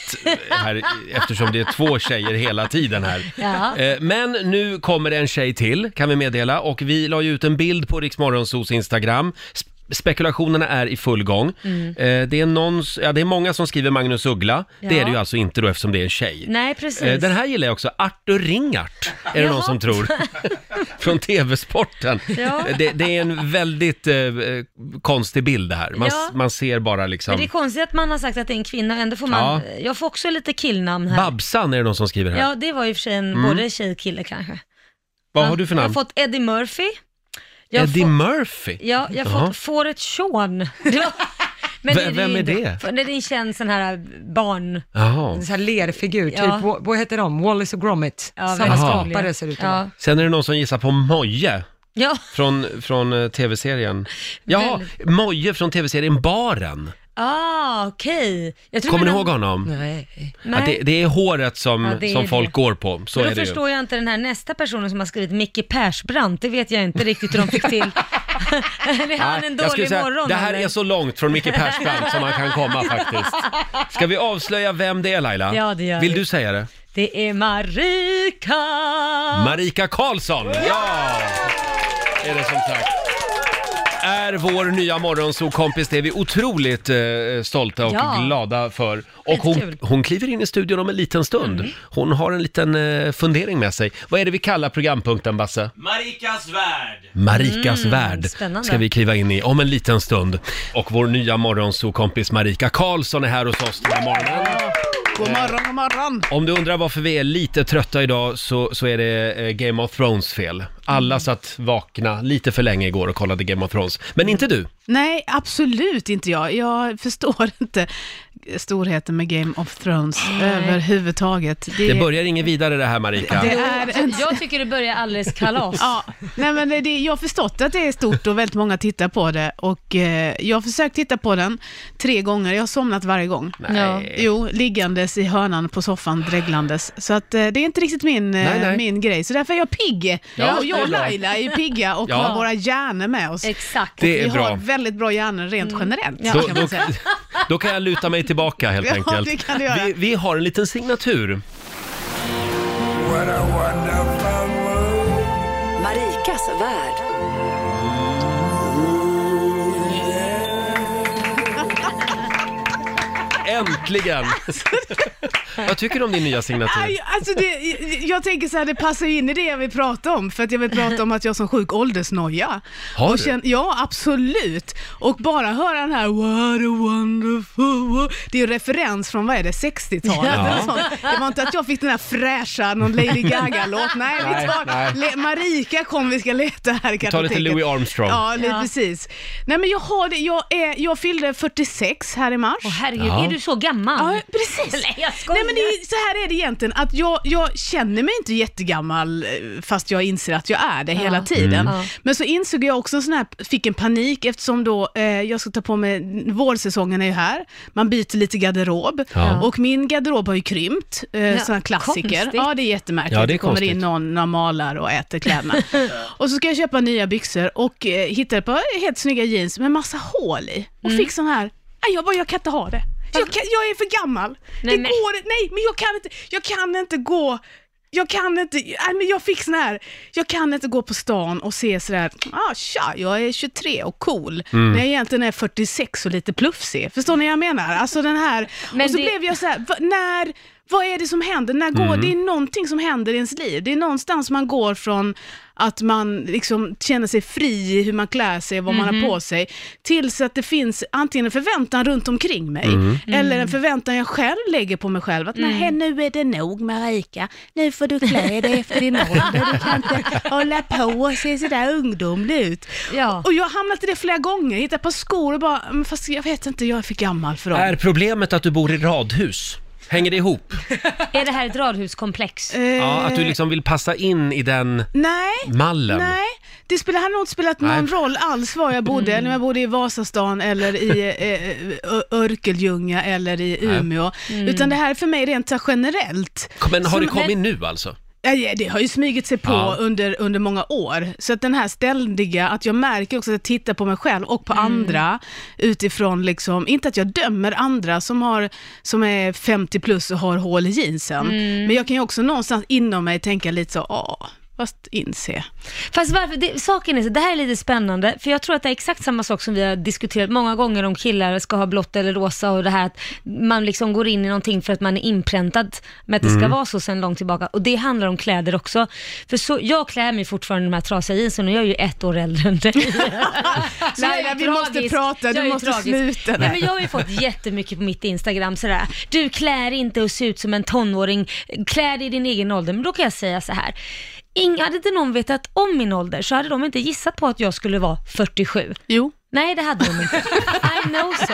Speaker 1: här eftersom det är två tjejer hela tiden här.
Speaker 2: Ja.
Speaker 1: Eh, Men nu kommer det en tjej till kan vi meddela och vi la ju ut en bild på Riksmorgonsos Instagram. Sp- Spekulationerna är i full gång.
Speaker 2: Mm.
Speaker 1: Eh, Det, är någon, s- ja, det är många som skriver Magnus Uggla. Det
Speaker 2: Ja.
Speaker 1: är det ju alltså inte då eftersom det är en tjej.
Speaker 2: Nej, precis.
Speaker 1: Eh, Den här gillar jag också, Arthur Ringart, är det någon
Speaker 2: Jaha.
Speaker 1: som tror. Från TV-sporten.
Speaker 2: Ja.
Speaker 1: Eh, Det, det är en väldigt eh, eh, konstig bild det här. Man, s-
Speaker 2: Ja.
Speaker 1: man ser bara liksom...
Speaker 2: Men det är konstigt att man har sagt att det är en kvinna, ändå får man... Jag får också lite killnamn här.
Speaker 1: Babsan är det någon som skriver här.
Speaker 2: Ja, det var ju i och för sig en, både tjej och kille kanske.
Speaker 1: Mm. Vad har du för
Speaker 2: Jag
Speaker 1: namn?
Speaker 2: har fått Eddie Murphy. Jag har
Speaker 1: Eddie
Speaker 2: fått-
Speaker 1: Murphy?
Speaker 2: Ja, jag har
Speaker 1: Jaha.
Speaker 2: fått fåret Sean. Det var- Men
Speaker 1: Ve-
Speaker 2: ju
Speaker 1: vem är
Speaker 2: inte-
Speaker 1: det?
Speaker 2: för- Det är en känd sån här barn...
Speaker 1: Jaha.
Speaker 3: En sån här lerfigur, typ,
Speaker 2: Ja.
Speaker 3: vad, vad heter de? Wallis och Gromit.
Speaker 2: Ja,
Speaker 3: Samma
Speaker 2: väldigt
Speaker 3: skapare
Speaker 2: rolig.
Speaker 3: ser det ut att vara.
Speaker 2: Ja.
Speaker 1: Sen är det någon som gissar på Moje
Speaker 2: Ja.
Speaker 1: från, från eh, tv-serien. Ja, Moje från tv-serien Baren.
Speaker 2: Ah, okej. Jag tror
Speaker 1: Kommer ni
Speaker 2: men-
Speaker 1: ihåg honom?
Speaker 3: Nej.
Speaker 1: Ja, det, det är håret som,
Speaker 2: Ja, det är
Speaker 1: som
Speaker 2: det.
Speaker 1: folk går på. Så
Speaker 2: Men
Speaker 1: är
Speaker 2: då
Speaker 1: det ju.
Speaker 2: förstår jag inte den här nästa personen som har skrivit Micke Persbrandt, det vet jag inte riktigt hur de fick till. Eller är han en
Speaker 1: Nej, jag skulle
Speaker 2: dålig
Speaker 1: säga,
Speaker 2: morgon?
Speaker 1: det här
Speaker 2: eller?
Speaker 1: är så långt från Micke Persbrandt som man kan komma faktiskt. Ska vi avslöja vem det är Laila?
Speaker 2: Ja, det gör
Speaker 1: Vill
Speaker 2: vi.
Speaker 1: du säga det?
Speaker 2: Det är Marika!
Speaker 1: Marika Karlsson! Ja! Är det som sagt. är vår nya morgonsokompis. Det är vi otroligt eh, stolta och
Speaker 2: Ja.
Speaker 1: glada för. Och hon,
Speaker 2: Skitkul. Mm.
Speaker 1: hon kliver in i studion om en liten stund. Hon har en liten eh, fundering med sig. Vad är det vi kallar programpunkten, Basse?
Speaker 5: Marikas värld!
Speaker 1: Marikas värld
Speaker 2: spännande.
Speaker 1: ska vi kliva in i om en liten stund. Och vår nya morgonsokompis Marika Karlsson är här hos oss den här morgonen.
Speaker 6: God morgon, god morgon!
Speaker 1: Om du undrar varför vi är lite trötta idag så, så är det eh, Game of Thrones fel.
Speaker 6: Mm.
Speaker 1: Alla satt vakna lite för länge igår och kollade Game of Thrones. Men inte du.
Speaker 6: Nej, absolut inte jag. Jag förstår inte storheten med Game of Thrones överhuvudtaget.
Speaker 1: Det börjar inget vidare det här Marika.
Speaker 6: det är en...
Speaker 2: Jag tycker det börjar alldeles kalas.
Speaker 6: Ja, nej men det, jag har förstått att det är stort och väldigt många tittar på det. Och eh, jag har försökt titta på den tre gånger, jag har somnat varje gång.
Speaker 2: Ja.
Speaker 6: Jo, liggandes i hörnan på soffan, dreglandes. Så att, eh, det är inte riktigt min, eh,
Speaker 1: Nej, nej.
Speaker 6: min grej, så därför är jag pigg.
Speaker 1: Ja,
Speaker 6: och jag och
Speaker 1: det är bra.
Speaker 6: Laila är ju pigga och
Speaker 1: Ja.
Speaker 6: har våra hjärnor med oss.
Speaker 2: Exakt.
Speaker 1: Det är
Speaker 6: vi
Speaker 1: bra.
Speaker 6: har väldigt bra hjärnor rent
Speaker 1: Mm.
Speaker 6: generellt,
Speaker 1: Då,
Speaker 6: kan
Speaker 1: då,
Speaker 6: man säga.
Speaker 1: då kan jag luta mig tillbaka helt
Speaker 6: Ja,
Speaker 1: enkelt.
Speaker 6: det kan du göra.
Speaker 1: Vi, vi har en liten signatur.
Speaker 7: Marikas värld.
Speaker 1: Äntligen! Vad tycker du om din nya signatur?
Speaker 6: Aj, alltså det, jag tänker så här, det passar ju in i det jag vill prata om, för att jag vill prata om att jag som sjuk åldersnoja.
Speaker 1: Har
Speaker 6: Och
Speaker 1: du?
Speaker 6: känn- ja, absolut. Och bara höra den här “What a wonderful world”. Det är ju en referens från, vad är det, 60-talet
Speaker 1: Ja.
Speaker 6: eller sånt. Det var inte att jag fick den här fräscha, någon Lady Gaga-låt. Nej,
Speaker 1: Nej,
Speaker 6: vi tar,
Speaker 1: nej.
Speaker 6: Le, Marika kom, vi ska leta här i
Speaker 1: tar lite
Speaker 6: kartoteket.
Speaker 1: Louis Armstrong.
Speaker 6: Ja, lite
Speaker 2: Ja.
Speaker 6: precis. Nej men jag har det, jag, är, jag fyllde 46 här i mars.
Speaker 2: Åh herregud,
Speaker 1: Ja.
Speaker 2: är du så gammal?
Speaker 6: Ja, precis.
Speaker 2: Nej, jag skojar.
Speaker 6: Nej, men det är, så här är det egentligen, att jag, jag känner mig inte jättegammal eh, fast jag inser att jag är det hela tiden.
Speaker 2: Ja. Mm.
Speaker 6: Men så insåg jag också en sån här, fick en panik eftersom då eh, jag ska ta på mig, vårsäsongen är ju här, man byter lite garderob
Speaker 1: Ja.
Speaker 6: och min garderob har ju krympt, eh,
Speaker 2: Ja,
Speaker 6: sån här klassiker.
Speaker 2: konstigt.
Speaker 6: Ja det är jättemärkligt,
Speaker 1: Ja, det är
Speaker 6: kommer
Speaker 1: konstigt.
Speaker 6: in någon och malar och äter kläderna. och så ska jag köpa nya byxor och eh, hittar ett par helt snygga jeans med massa hål i och
Speaker 2: Mm.
Speaker 6: fick sån här, nej jag bara, jag kan inte ha det. Jag, kan, jag är för gammal.
Speaker 2: Nej,
Speaker 6: det
Speaker 2: men-
Speaker 6: går inte, nej men jag kan inte, jag kan inte gå jag kan inte, nej men jag fick sån här, jag kan inte gå på stan och se sådär, ah tja, jag är 23 och cool, när jag egentligen är 46 och lite plufsig. Förstår ni vad jag menar? Alltså den här,
Speaker 2: Men
Speaker 6: och så
Speaker 2: det-
Speaker 6: blev jag såhär, va, när, vad är det som händer? När går, Det är någonting som händer i ens liv. Det är någonstans man går från att man liksom känner sig fri i hur man klär sig och vad man har på sig, tills att det finns antingen en förväntan runt omkring mig, eller en förväntan jag själv lägger på mig själv, att nej, nu är det nog Marika, nu får du klä dig efter din ålder, du kan inte hålla på och se sådär ungdomlig ut.
Speaker 2: Ja.
Speaker 6: Och jag har hamnat i det flera gånger, hittat ett par skor och bara, "Men fast jag vet inte, jag är för gammal för dem.
Speaker 1: Är problemet att du bor i radhus? Hänger det ihop?
Speaker 2: Är det här ett radhuskomplex?
Speaker 6: Eh,
Speaker 1: Ja, att du liksom vill passa in i den
Speaker 6: Nej.
Speaker 1: mallen?
Speaker 6: Nej, det spelar, hade nog inte spelat någon
Speaker 1: Nej. Mm.
Speaker 6: roll alls var jag bodde, när jag bodde i Vasastan eller i eh, Ö- Örkelljunga eller i Umeå.
Speaker 1: Mm.
Speaker 6: Utan det här är för mig rent så här generellt.
Speaker 1: Men har
Speaker 6: Som-
Speaker 1: det kommit nu alltså?
Speaker 6: Nej, Det har ju smugit sig på
Speaker 1: Ja.
Speaker 6: under, under många år. Så att den här ständiga, att jag märker också att jag tittar på mig själv och
Speaker 1: Mm.
Speaker 6: på andra utifrån, liksom, inte att jag dömer andra som, har, som är 50 plus och har hål i jeansen.
Speaker 1: Mm.
Speaker 6: Men jag kan ju också någonstans inom mig tänka lite så, åh, fast inse.
Speaker 2: Fast varför, det, saken är så, det här är lite spännande, för jag tror att det är exakt samma sak som vi har diskuterat många gånger om killar ska ha blått eller rosa och det här att man liksom går in i någonting för att man är inpräntad med att det ska vara så sedan långt tillbaka. Och det handlar om kläder också. För så, jag klär mig fortfarande i de här trasiga jeansen och jag är ju ett år äldre än dig. Så jag är
Speaker 6: Laila, vi måste prata. Du
Speaker 2: Jag är
Speaker 6: måste sluta
Speaker 2: Nej, men jag har ju fått jättemycket på mitt Instagram sådär, du klär inte och ser ut som en tonåring, klär dig i din egen ålder. Men då kan jag säga så här. Inga, hade inte någon vetat om min ålder så hade de inte gissat på att jag skulle vara 47.
Speaker 6: Jo.
Speaker 2: Nej, det hade de inte. I know so.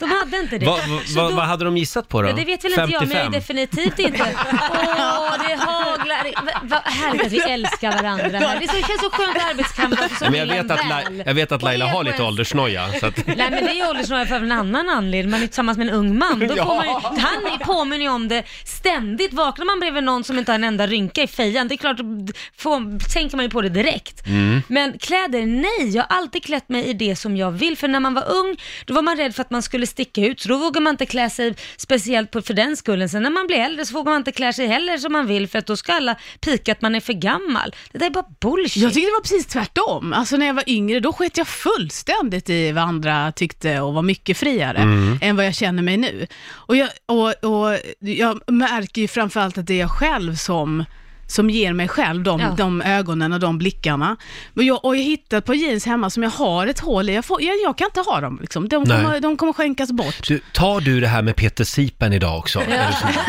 Speaker 2: De hade inte det.
Speaker 1: Va, va,
Speaker 2: Så
Speaker 1: va,
Speaker 2: då-
Speaker 1: vad hade de gissat på då?
Speaker 2: Ja, det vet väl inte jag,
Speaker 1: 55?
Speaker 2: men jag är definitivt inte... Åh, det haglar. i- Va- Vad härligt att vi älskar varandra här. Det är så- det känns så skönt arbetskamrater som
Speaker 1: Nej, men jag,
Speaker 2: vill en
Speaker 1: vet att
Speaker 2: väl.
Speaker 1: Lai- jag vet att
Speaker 2: Och
Speaker 1: Laila
Speaker 2: är
Speaker 1: har
Speaker 2: på E
Speaker 1: lite
Speaker 2: ens-
Speaker 1: åldersnoja. Så att...
Speaker 2: Nej men det är åldersnoja för en annan anledning, man är tillsammans med en ung man. Då får man ju, han är- påminner ju om det ständigt. Vaknar man bredvid någon som inte har en enda rynka i fejan, det är klart, d- får, tänker man ju på det direkt. Men kläder, nej, jag har alltid klätt mig i det som jag vill. För när man var ung, då var man rädd för att man skulle sticka ut, så då vågade man inte klä sig speciellt på, för den skullen. Sen när man blir äldre så vågar man inte klä sig heller som man vill, för att då ska alla pika lika att man är för gammal. Det där är bara bullshit.
Speaker 6: Jag tyckte det var precis tvärtom. Alltså när jag var yngre, då sket jag fullständigt i vad andra tyckte och var mycket friare än vad jag känner mig nu. Och jag, och, och jag märker ju framförallt att det är jag själv som som ger mig själv de,
Speaker 2: Ja.
Speaker 6: de ögonen och de blickarna. Men jag, och jag hittade ett par jeans hemma som jag har ett hål i. Jag, får, jag, jag kan inte ha dem. Liksom. De,
Speaker 1: Nej.
Speaker 6: kommer, de kommer skänkas bort.
Speaker 1: Du, tar du det här med Peter Sipen idag också? Är du snäll?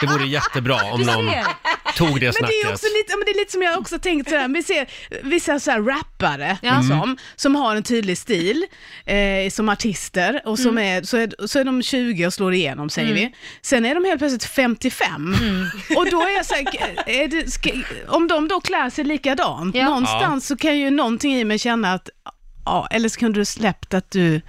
Speaker 1: Det vore jättebra om
Speaker 2: Du
Speaker 1: någon
Speaker 2: ser.
Speaker 1: tog det
Speaker 6: Men det är,
Speaker 1: snacket.
Speaker 6: också lite, ja, men det är lite som jag också tänkt sådär, vi ser vissa så här rappare
Speaker 2: Ja. Mm.
Speaker 6: liksom, som har en tydlig stil eh, som artister och som
Speaker 2: Mm.
Speaker 6: är, så, är, så är de 20 och slår igenom säger vi. Sen är de helt plötsligt 55
Speaker 2: Mm.
Speaker 6: och då är jag så här, är det, ska, om de då klär sig likadant,
Speaker 2: Ja.
Speaker 6: någonstans så kan ju någonting i mig känna att, ja, eller så kunde du släppt att du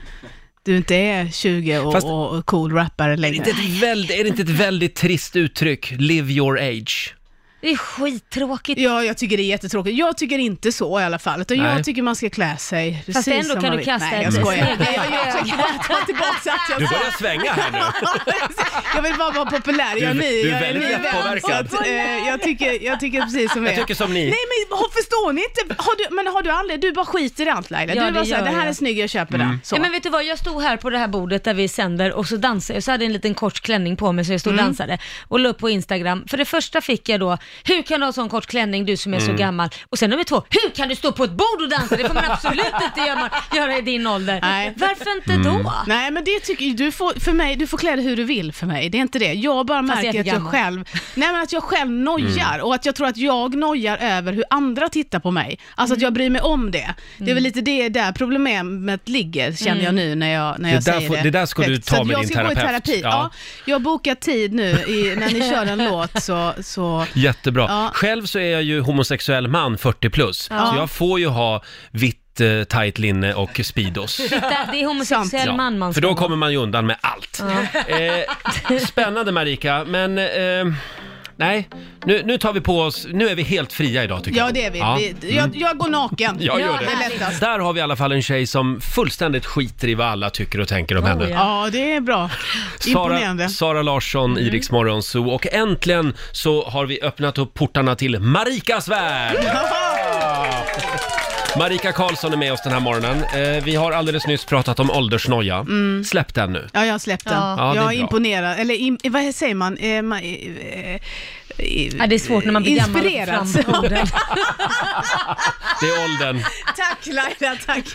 Speaker 6: du inte är 20 och,
Speaker 1: Fast-
Speaker 6: och cool rappare
Speaker 1: Är
Speaker 6: längre.
Speaker 1: det, inte ett väldigt, är det inte ett väldigt trist uttryck? Live your age.
Speaker 2: Det är skittråkigt.
Speaker 6: Ja, jag tycker det är jättetråkigt. Jag tycker inte så i alla fall, utan
Speaker 1: Nej.
Speaker 6: jag tycker man ska klä sig precis
Speaker 2: Fast ändå
Speaker 6: som
Speaker 2: kan
Speaker 6: man
Speaker 2: du
Speaker 6: vill.
Speaker 2: kasta
Speaker 6: Nej, jag
Speaker 2: ett
Speaker 6: skojar.
Speaker 2: snegel.
Speaker 6: Nej, jag, jag, jag, jag tar tillbaka att jag
Speaker 1: Du
Speaker 6: sa.
Speaker 1: börjar svänga här nu.
Speaker 6: Jag vill bara vara populär, jag är
Speaker 1: Du-
Speaker 6: ny.
Speaker 1: du är
Speaker 6: jag
Speaker 1: väldigt
Speaker 6: ny vän,
Speaker 1: lättpåverkad.
Speaker 6: så att, eh, jag, tycker, jag tycker precis som
Speaker 1: Jag tycker som ni.
Speaker 6: Nej men har- förstår ni inte? Har du, men har du aldrig, du bara skiter i allt Laila.
Speaker 2: Ja,
Speaker 6: du
Speaker 2: det
Speaker 6: bara såhär,
Speaker 2: gör
Speaker 6: det här
Speaker 2: jag.
Speaker 6: är snygg, jag köper
Speaker 1: Mm.
Speaker 6: den. Så.
Speaker 2: Ja, men vet du vad, jag stod här på det här bordet där vi sänder och så dansade jag, så hade jag en liten kort klänning på mig så jag stod och
Speaker 1: Mm.
Speaker 2: dansade och la upp på Instagram. För det första fick jag då, hur kan du ha sån kort klänning du som är
Speaker 1: Mm.
Speaker 2: så gammal? Och sen nummer två, hur kan du stå på ett bord och dansa? Det får man absolut inte göra, göra i din ålder.
Speaker 6: Nej.
Speaker 2: Varför inte
Speaker 1: Mm.
Speaker 2: då?
Speaker 6: Nej men det tycker du får, för mig, du får klä dig hur du vill för mig. Det är inte det. Jag bara
Speaker 2: Fast jag är
Speaker 6: märker att
Speaker 2: för
Speaker 6: jag
Speaker 2: gammal.
Speaker 6: själv, nej men att jag själv nojar
Speaker 1: Mm.
Speaker 6: och att jag tror att jag nojar över hur andra tittar på mig. Alltså att jag
Speaker 2: Mm.
Speaker 6: bryr mig om det. Det är väl lite det där problemet ligger känner
Speaker 2: Mm.
Speaker 6: jag nu när jag, när
Speaker 1: Det
Speaker 6: jag
Speaker 1: där
Speaker 6: säger
Speaker 1: får-
Speaker 6: det.
Speaker 1: det där ska du
Speaker 6: högt.
Speaker 1: ta
Speaker 6: Så att
Speaker 1: med
Speaker 6: jag
Speaker 1: din
Speaker 6: ska gå i
Speaker 1: terapeut.
Speaker 6: terapi.
Speaker 1: Ja.
Speaker 6: Ja. jag bokar tid nu i, när ni kör en låt så, så
Speaker 1: Jättebra.
Speaker 6: Ja.
Speaker 1: Själv så är jag ju homosexuell man 40 plus, så jag får ju ha vitt eh, tight linne och Speedos.
Speaker 2: Där, det är homosexuell
Speaker 1: Ja,
Speaker 2: man man
Speaker 1: För
Speaker 2: ska
Speaker 1: då
Speaker 2: vara.
Speaker 1: kommer man ju undan med allt. Eh, spännande Marika, men eh, nej, nu, nu tar vi på oss, nu är vi helt fria idag tycker jag.
Speaker 6: Ja det är vi. vi jag, jag går naken.
Speaker 1: Jag
Speaker 2: Ja,
Speaker 1: Mm. gör det.
Speaker 6: det är lättast.
Speaker 1: Där har vi i alla fall en tjej som fullständigt skiter i vad alla tycker och tänker om
Speaker 2: Oh,
Speaker 1: henne.
Speaker 2: ja.
Speaker 6: Ja det är bra. Imponerande.
Speaker 1: Sara, Sara Larsson, mm. Iriks Morgonzoo och äntligen så har vi öppnat upp portarna till Marikas värld! Marika Karlsson är med oss den här morgonen. Eh, vi har alldeles nyss pratat om åldersnoja. Släpp den nu.
Speaker 6: Ja, jag har släppt den.
Speaker 2: Ja.
Speaker 1: Ja, det är
Speaker 6: jag
Speaker 1: bra.
Speaker 6: är imponerad, eller im, vad säger man? Eh, man eh, eh,
Speaker 2: Ja, det är svårt när man blir gammal och
Speaker 6: Inspirerad.
Speaker 2: får fram orden.
Speaker 1: Det är åldern.
Speaker 6: tack Laila, tack.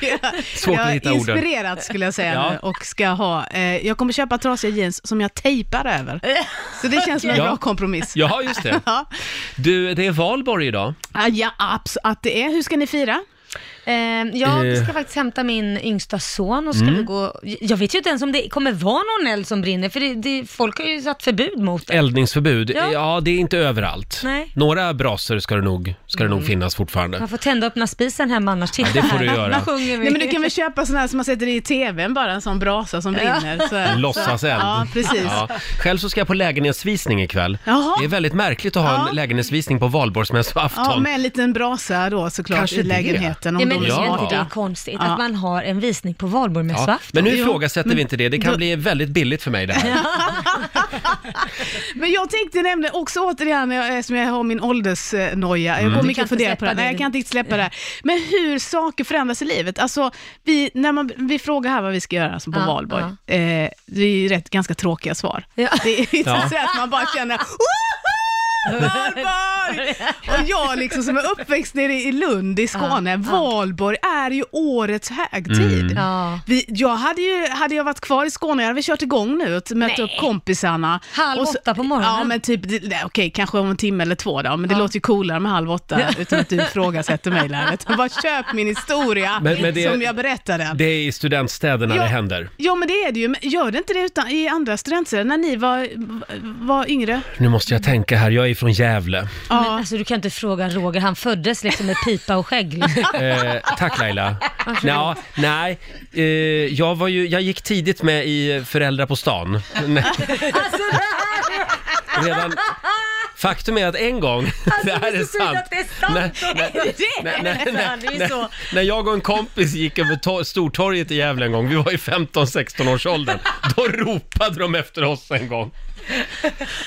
Speaker 1: Svårt att
Speaker 6: jag
Speaker 1: hitta
Speaker 6: är
Speaker 1: orden.
Speaker 6: inspirerad skulle jag säga
Speaker 1: Ja.
Speaker 6: nu och ska ha, eh, jag kommer köpa trasiga jeans som jag tejpar över. Så det känns som en
Speaker 1: Ja.
Speaker 6: bra kompromiss.
Speaker 1: Jaha, just det.
Speaker 6: Ja,
Speaker 1: Du, det är valborg idag.
Speaker 6: Ah, ja abs- att det är. Hur ska ni fira?
Speaker 2: Ehm, jag
Speaker 1: Eh. Mm.
Speaker 2: ska faktiskt hämta min yngsta son och ska vi gå... Jag vet ju inte ens om det kommer vara någon eld som brinner, för det, det, folk har ju satt förbud mot det.
Speaker 1: Eldningsförbud. Ja,
Speaker 2: Ja.
Speaker 1: det är inte överallt.
Speaker 2: Nej.
Speaker 1: Några brasor ska det nog, ska det
Speaker 6: Mm.
Speaker 1: nog finnas fortfarande.
Speaker 2: Man får tända och öppna spisen hemma annars. Titta
Speaker 1: det får du
Speaker 2: här.
Speaker 1: göra.
Speaker 2: Vad sjunger vi?
Speaker 6: Nej, men du kan väl köpa sån här som man sätter i tvn bara, en sån brasa som brinner. Så,
Speaker 1: En
Speaker 6: så-
Speaker 1: Låtsaseld.
Speaker 6: Ja, precis.
Speaker 1: Ja. Själv så ska jag på lägenhetsvisning ikväll.
Speaker 6: Jaha.
Speaker 1: Det är väldigt märkligt att ha
Speaker 6: Ja.
Speaker 1: en lägenhetsvisning på valborgsmässoafton.
Speaker 6: Ja, med en liten brasa då såklart
Speaker 1: Kanske
Speaker 6: i
Speaker 1: det.
Speaker 6: lägenheten.
Speaker 2: Nej,
Speaker 6: Om
Speaker 2: men
Speaker 6: de är
Speaker 2: det är
Speaker 1: Ja.
Speaker 2: inte det
Speaker 6: smarta.
Speaker 2: är konstigt
Speaker 6: Ja.
Speaker 2: att man har en visning på
Speaker 1: Ja,
Speaker 2: valborgsmässoafton.
Speaker 1: men nu
Speaker 6: Jo,
Speaker 1: ifrågasätter
Speaker 6: men
Speaker 1: vi inte det. Det kan
Speaker 6: då-
Speaker 1: bli väldigt billigt för mig det här.
Speaker 6: Men jag tänkte nämna också återigen, när jag, som jag har min åldersnoja, jag kommer mycket
Speaker 2: Mm. inte
Speaker 6: att fundera på
Speaker 2: släppa
Speaker 6: det. här.
Speaker 2: det.
Speaker 6: Nej, jag kan inte riktigt släppa det här. Men hur saker förändras i livet. Alltså, vi, när man, vi frågar här vad vi ska göra som på
Speaker 2: Ja,
Speaker 6: valborg. Eh, det är ju rätt ganska tråkiga svar.
Speaker 2: Ja.
Speaker 6: Det är inte
Speaker 1: Ja.
Speaker 6: så att man bara känner "Woho! Valborg! Och jag liksom som är uppväxt nere i Lund i Skåne, valborg är ju årets högtid.
Speaker 2: Ja.
Speaker 6: Vi, jag hade ju, hade jag varit kvar i Skåne, jag hade vi kört igång nu och mött
Speaker 2: Nej.
Speaker 6: upp kompisarna.
Speaker 2: Halv
Speaker 6: Och
Speaker 2: åtta på morgonen.
Speaker 6: Ja, men typ, det- det- okej, kanske om en timme eller två då, men det låter ju coolare med halv åtta utan att du ifrågasätter mig Laila. Utan Bara köp min historia
Speaker 1: Men- men det-
Speaker 6: som jag berättar den.
Speaker 1: Det är i studentstäderna
Speaker 6: Ja.
Speaker 1: det händer.
Speaker 6: Ja men det är det ju, men gör det inte det utan, i andra studentstäder när ni var, var yngre?
Speaker 1: Nu måste jag tänka här, jag är från Gävle.
Speaker 2: Men alltså, du kan inte fråga Roger, han föddes liksom med pipa och skägg. liksom.
Speaker 1: Eh, tack Laila. Nå, nej, eh, jag, var ju, jag gick tidigt med i Föräldrar på stan. Nej. Alltså, Redan, faktum är att en gång, Alltså, det här är sant. Nej, nej, nej, nej, nej, nej. När jag och en kompis gick över to- Stortorget i Gävle en gång, vi var i 15-16 års åldern, då ropade de efter oss en gång.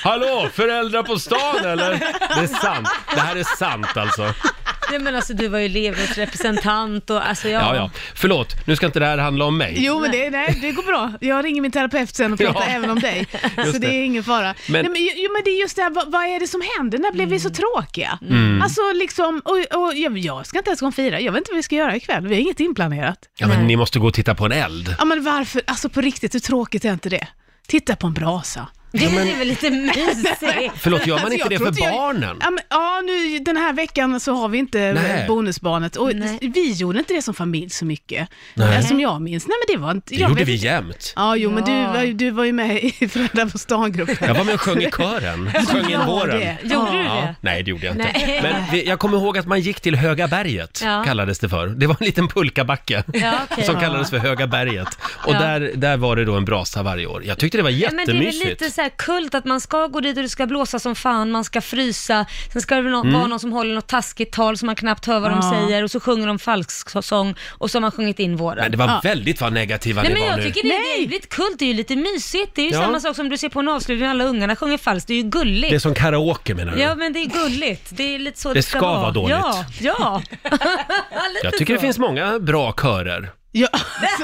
Speaker 1: Hallå, föräldrar på stan eller? Det är sant. Det här är sant alltså.
Speaker 2: Nej men alltså du var ju elevens representant och alltså jag...
Speaker 1: Ja, ja. Förlåt, nu ska inte det här handla om mig.
Speaker 6: Jo, men det, nej, det går bra. Jag ringer min terapeut sen och pratar
Speaker 1: Ja.
Speaker 6: även om dig. så
Speaker 1: Just
Speaker 6: det
Speaker 1: det.
Speaker 6: är ingen fara.
Speaker 1: Men-
Speaker 6: Men, nej, men, ju- jo, men det är just det här, vad, vad är det som händer? När blev vi
Speaker 2: Mm.
Speaker 6: så tråkiga?
Speaker 1: Mm.
Speaker 6: Alltså liksom, och, och jag, jag ska inte ens gå och fira. Jag vet inte vad vi ska göra ikväll. Vi har inget inplanerat.
Speaker 1: Ja, men ni måste gå och titta på en eld.
Speaker 6: Ja, men varför? Alltså på riktigt, hur tråkigt är inte det? Titta på en brasa.
Speaker 2: Det är väl lite mysigt?
Speaker 1: Förlåt, gör man
Speaker 6: Alltså,
Speaker 1: inte
Speaker 6: jag
Speaker 1: det
Speaker 6: tror
Speaker 1: för
Speaker 6: jag-
Speaker 1: barnen?
Speaker 6: Ja, men, ja, nu den här veckan så har vi inte
Speaker 1: Nej.
Speaker 6: bonusbarnet och
Speaker 2: Nej.
Speaker 6: vi gjorde inte det som familj så mycket.
Speaker 1: Nej.
Speaker 6: Eh, Som jag minns. Nej, men det var inte...
Speaker 1: Det
Speaker 6: jag
Speaker 1: gjorde
Speaker 6: vet
Speaker 1: vi
Speaker 6: inte.
Speaker 1: jämt.
Speaker 6: Ja, jo, men
Speaker 2: Ja.
Speaker 6: du, var ju- du var ju med i Föräldrar på stan-gruppen.
Speaker 1: Jag var med och sjöng i kören. Sjöng in
Speaker 6: Ja,
Speaker 1: våren.
Speaker 6: det.
Speaker 2: Gjorde du
Speaker 1: Ja,
Speaker 2: det?
Speaker 1: nej, det gjorde jag inte.
Speaker 2: Nej.
Speaker 1: Men vi, jag kommer ihåg att man gick till Höga berget,
Speaker 2: Ja.
Speaker 1: kallades det för. Det var en liten pulkabacke
Speaker 2: Ja, okej.
Speaker 1: som
Speaker 2: Ja.
Speaker 1: kallades för Höga berget. Och
Speaker 2: Ja.
Speaker 1: där, där var det då en brasa varje år. Jag tyckte det var
Speaker 2: Ja, Men det är väl
Speaker 1: jättemysigt.
Speaker 2: lite så här kult att man ska gå dit och det ska blåsa som fan, man ska frysa, sen ska det väl nå-
Speaker 1: Mm.
Speaker 2: vara någon som håller något taskigt tal som man knappt hör vad de
Speaker 6: Ja.
Speaker 2: säger och så sjunger de falsk sång och så har man sjungit in våren.
Speaker 1: Men det var väldigt vad negativa
Speaker 2: Nej
Speaker 1: ni
Speaker 2: men
Speaker 1: var
Speaker 2: jag
Speaker 1: nu.
Speaker 2: tycker det är ljuvligt, kult är ju lite mysigt. Det är ju
Speaker 1: Ja.
Speaker 2: samma sak som du ser på en avslutning när alla ungarna sjunger falskt, det är ju gulligt.
Speaker 1: Det är som karaoke menar du?
Speaker 2: Ja men det är gulligt, det är lite så det,
Speaker 1: Det ska vara dåligt.
Speaker 2: Ja, ja. Lite
Speaker 1: jag tycker det
Speaker 2: så.
Speaker 1: finns många bra körer,
Speaker 6: Ja, alltså,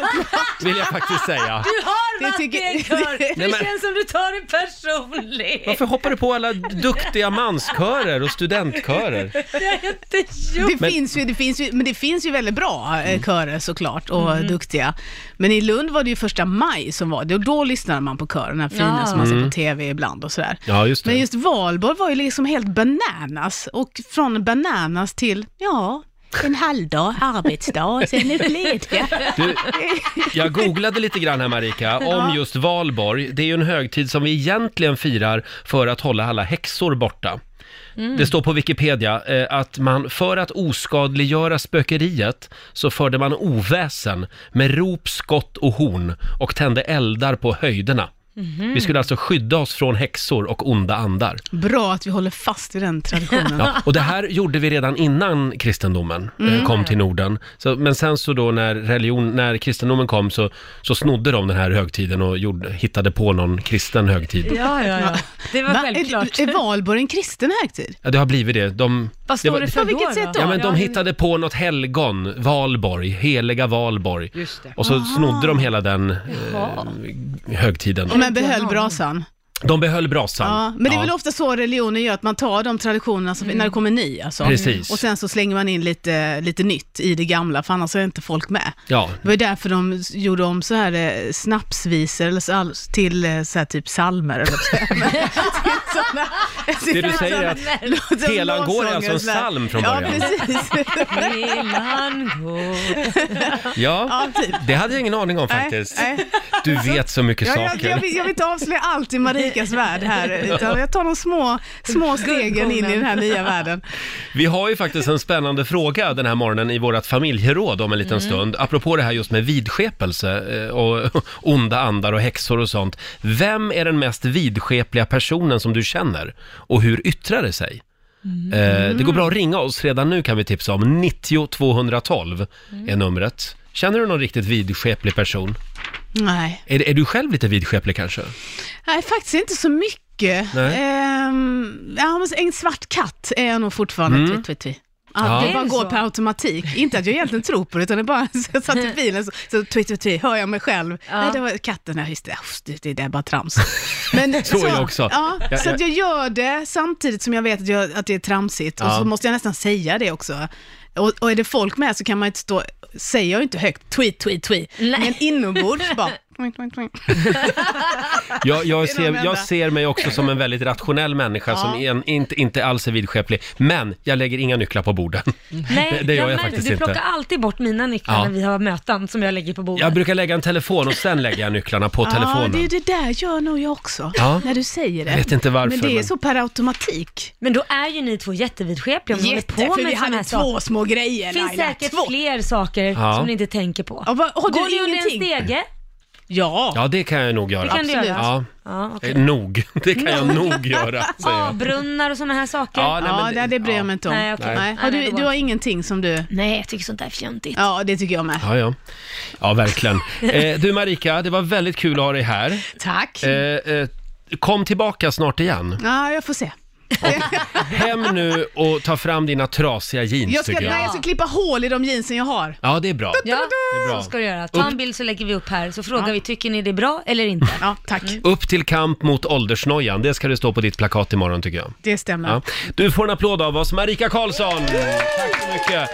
Speaker 1: vill jag faktiskt säga.
Speaker 2: Du har
Speaker 6: Det
Speaker 2: varit
Speaker 6: tycker-
Speaker 2: i en kör! Det
Speaker 1: Nej, men-
Speaker 2: känns som du tar det personligt.
Speaker 1: Varför hoppar du på alla duktiga manskörer och studentkörer?
Speaker 2: Det har jag inte gjort.
Speaker 6: det, finns ju, det finns ju, men det finns ju väldigt bra
Speaker 1: Mm.
Speaker 6: eh, körer såklart och
Speaker 2: Mm.
Speaker 6: duktiga. Men i Lund var det ju första maj som var det och då lyssnade man på kören, den här fina
Speaker 2: Ja.
Speaker 6: som man ser på TV ibland och sådär.
Speaker 1: Mm. Ja, just det.
Speaker 6: Men just valborg var ju liksom helt bananas och från bananas till, ja, en halvdag, arbetsdag, sen är vi lediga.
Speaker 1: Du, jag googlade lite grann här Marika, om just valborg. Det är ju en högtid som vi egentligen firar för att hålla alla häxor borta.
Speaker 6: Mm.
Speaker 1: Det står på Wikipedia eh, att man för att oskadliggöra spökeriet så förde man oväsen med rop, skott och horn och tände eldar på höjderna.
Speaker 6: Mhm.
Speaker 1: Vi skulle alltså skydda oss från häxor och onda andar.
Speaker 6: Bra att vi håller fast i den traditionen.
Speaker 1: Ja, och det här gjorde vi redan innan kristendomen eh,
Speaker 6: Mm.
Speaker 1: kom till Norden. Så, men sen så då när, religion, när kristendomen kom så, så snodde de den här högtiden och gjorde, hittade på någon kristen högtid.
Speaker 2: Ja, ja, ja. Det var
Speaker 6: Va?
Speaker 2: självklart.
Speaker 6: Är, är valborg en kristen högtid?
Speaker 1: Ja, det har blivit det. De,
Speaker 2: Vad står
Speaker 1: var-
Speaker 2: det för
Speaker 6: På vilket
Speaker 2: då,
Speaker 6: sätt
Speaker 2: då?
Speaker 6: då?
Speaker 1: Ja, men de
Speaker 2: Ja,
Speaker 1: hittade på något helgon, Valborg, heliga Valborg.
Speaker 3: Just det.
Speaker 1: Och
Speaker 6: Ah.
Speaker 1: så snodde de hela den eh,
Speaker 2: Jaha.
Speaker 1: högtiden.
Speaker 6: Men behöll brasan?
Speaker 1: De behöll brasan.
Speaker 6: Ja, men det är
Speaker 1: Ja.
Speaker 6: väl ofta så religioner gör, att man tar de traditionerna som,
Speaker 2: Mm.
Speaker 6: när det kommer ny. Alltså.
Speaker 1: Precis.
Speaker 6: Och sen så slänger man in lite, lite nytt i det gamla, för annars är inte folk med.
Speaker 1: Ja.
Speaker 6: Det var ju därför de s- gjorde om så här eh, snapsvisor eller så, all- till eh, så här typ psalmer eller så. här. Till såna-
Speaker 1: Det du
Speaker 6: till
Speaker 1: säger är
Speaker 6: såna-
Speaker 1: att Helan går är alltså en psalm från
Speaker 6: Ja,
Speaker 1: början.
Speaker 6: precis.
Speaker 2: Villan går.
Speaker 1: Ja,
Speaker 6: Ja, typ.
Speaker 1: det hade jag ingen aning om faktiskt.
Speaker 6: Nej, nej.
Speaker 1: Du vet så mycket
Speaker 6: Ja, jag,
Speaker 1: saker.
Speaker 6: jag, vill, jag vill inte avslöja allt i Marikas värld här, utan jag tar de små, små stegen in i den här nya världen.
Speaker 1: Vi har ju faktiskt en spännande fråga den här morgonen i vårt familjeråd om en liten stund. Apropå det här just med vidskepelse eh, och onda andar och häxor och sånt. Vem är den mest vidskepliga personen som du känner och hur yttrar det sig? Eh, Det går bra att ringa oss, redan nu kan vi tipsa om 90 212 är numret. Känner du någon riktigt vidskeplig person?
Speaker 6: Nej.
Speaker 1: Är, är du själv lite vidskeplig kanske?
Speaker 6: Nej, faktiskt inte så mycket.
Speaker 1: Nej.
Speaker 6: Ehm, ja, men en svart katt är jag nog fortfarande. Tvi, tvi, tvi.
Speaker 1: Mm. Ja.
Speaker 6: Ja,
Speaker 1: Är
Speaker 6: Det bara
Speaker 2: det
Speaker 6: går
Speaker 2: så?
Speaker 6: per automatik. Inte att jag egentligen tror på det, utan det är bara så jag satt i bilen så, så tvi, twi twi hör jag mig själv.
Speaker 2: Ja.
Speaker 6: Nej, det var katten, nej just det, Uff, det, det är bara trams. Men,
Speaker 1: Så är jag också.
Speaker 6: Ja,
Speaker 1: Ja,
Speaker 6: så
Speaker 1: ja.
Speaker 6: att jag gör det samtidigt som jag vet att, jag, att det är tramsigt och
Speaker 1: Ja.
Speaker 6: så måste jag nästan säga det också. Och, och är det folk med så kan man inte stå, säger jag ju inte högt, tweet, tweet, tweet,
Speaker 2: Nej.
Speaker 6: men inombords bara, tweet, tweet, tweet.
Speaker 1: Jag, jag,
Speaker 6: Det är de
Speaker 1: ser,
Speaker 6: enda.
Speaker 1: jag ser mig också som en väldigt rationell människa som en, inte, inte alls är vidskeplig. Men jag lägger inga nycklar på borden.
Speaker 2: Nej,
Speaker 1: Det- det gör jag
Speaker 2: märker-
Speaker 1: faktiskt
Speaker 2: Du
Speaker 1: inte.
Speaker 2: plockar alltid bort mina nycklar
Speaker 1: Ja.
Speaker 2: när vi har möten som jag lägger på bordet.
Speaker 1: Jag brukar lägga en telefon och sen lägger jag nycklarna på
Speaker 6: Ja, det,
Speaker 1: telefonen.
Speaker 6: det där gör nog jag också,
Speaker 1: Ja.
Speaker 6: när du säger det.
Speaker 1: Jag vet inte varför,
Speaker 6: Men det är
Speaker 1: men-
Speaker 6: så per automatik.
Speaker 2: Men då är ju ni två jättevidskepliga om ni håller på
Speaker 6: för vi
Speaker 2: med sådana här
Speaker 6: hade
Speaker 2: saker.
Speaker 6: två små grejer
Speaker 2: Det finns
Speaker 6: Laila.
Speaker 2: säkert
Speaker 6: två.
Speaker 2: fler saker
Speaker 1: Ja.
Speaker 2: som ni inte tänker på.
Speaker 6: Ja, vad- har du
Speaker 2: Går ni under en
Speaker 6: ingenting?
Speaker 2: stege?
Speaker 6: Ja.
Speaker 1: Ja, det kan jag nog göra.
Speaker 2: Det kan du göra.
Speaker 1: Ja,
Speaker 2: Ja, okej.
Speaker 1: eh, nog. Det kan jag nog göra, säger jag.
Speaker 2: Avbrunnar och sådana här saker?
Speaker 1: Ja, nej,
Speaker 6: Ja,
Speaker 1: men-
Speaker 6: det, det bryr jag mig inte om.
Speaker 2: Nej, okej. Nej,
Speaker 6: Har
Speaker 2: nej,
Speaker 6: du,
Speaker 2: det var
Speaker 6: du har
Speaker 2: inte.
Speaker 6: ingenting som du...
Speaker 2: Nej, jag tycker sånt där är fjuntigt.
Speaker 6: Ja, det tycker jag med.
Speaker 1: Ja, ja. ja verkligen. Eh, du Marika, det var väldigt kul att ha dig här.
Speaker 6: Tack.
Speaker 1: Eh, eh, Kom tillbaka snart igen.
Speaker 6: Ja, jag får se.
Speaker 1: Hem nu och ta fram dina trasiga jeans
Speaker 6: Jag ska,
Speaker 1: tycker
Speaker 6: nej,
Speaker 1: jag.
Speaker 6: jag ska klippa hål i de jeansen jag har.
Speaker 1: Ja, det är bra.
Speaker 2: Ja,
Speaker 1: Det är bra.
Speaker 2: så ska du göra. Ta en bild så lägger vi upp här, så frågar vi tycker ni det är bra eller inte.
Speaker 6: Ja, tack.
Speaker 2: Mm.
Speaker 1: Upp till kamp mot åldersnojan, det ska det stå på ditt plakat imorgon tycker jag.
Speaker 6: Det stämmer.
Speaker 1: Ja. Du får en applåd av oss, Marika Karlsson! Tack så mycket!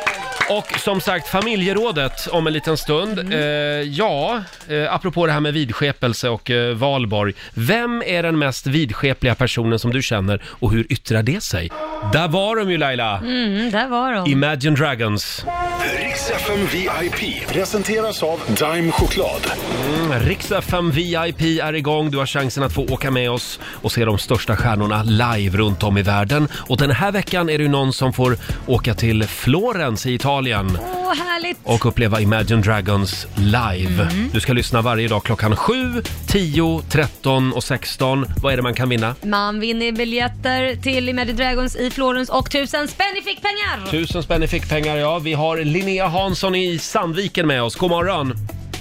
Speaker 1: Och som sagt, familjerådet om en liten stund. Eh, ja, eh, apropå det här med vidskepelse och eh, valborg. Vem är den mest vidskepliga personen som du känner och hur yttrar det sig? Där var de ju Laila!
Speaker 2: Mm, där var de.
Speaker 1: Imagine Dragons.
Speaker 4: Riks FM VIP presenteras av Dime Choklad.
Speaker 1: Rix FM VIP är igång. Du har chansen att få åka med oss och se de största stjärnorna live runt om i världen. Och den här veckan är det ju någon som får åka till Florens i Italien
Speaker 2: Åh, härligt!
Speaker 1: och uppleva Imagine Dragons live. Du ska lyssna varje dag klockan 7, 10, 13 och 16. Vad är det man kan vinna?
Speaker 2: Man vinner biljetter till Imagine Dragons i Florens och tusen spänn i fickpengar!
Speaker 1: Tusen spänn i fickpengar, ja. Vi har Linnea Hansson i Sandviken med oss. God morgon!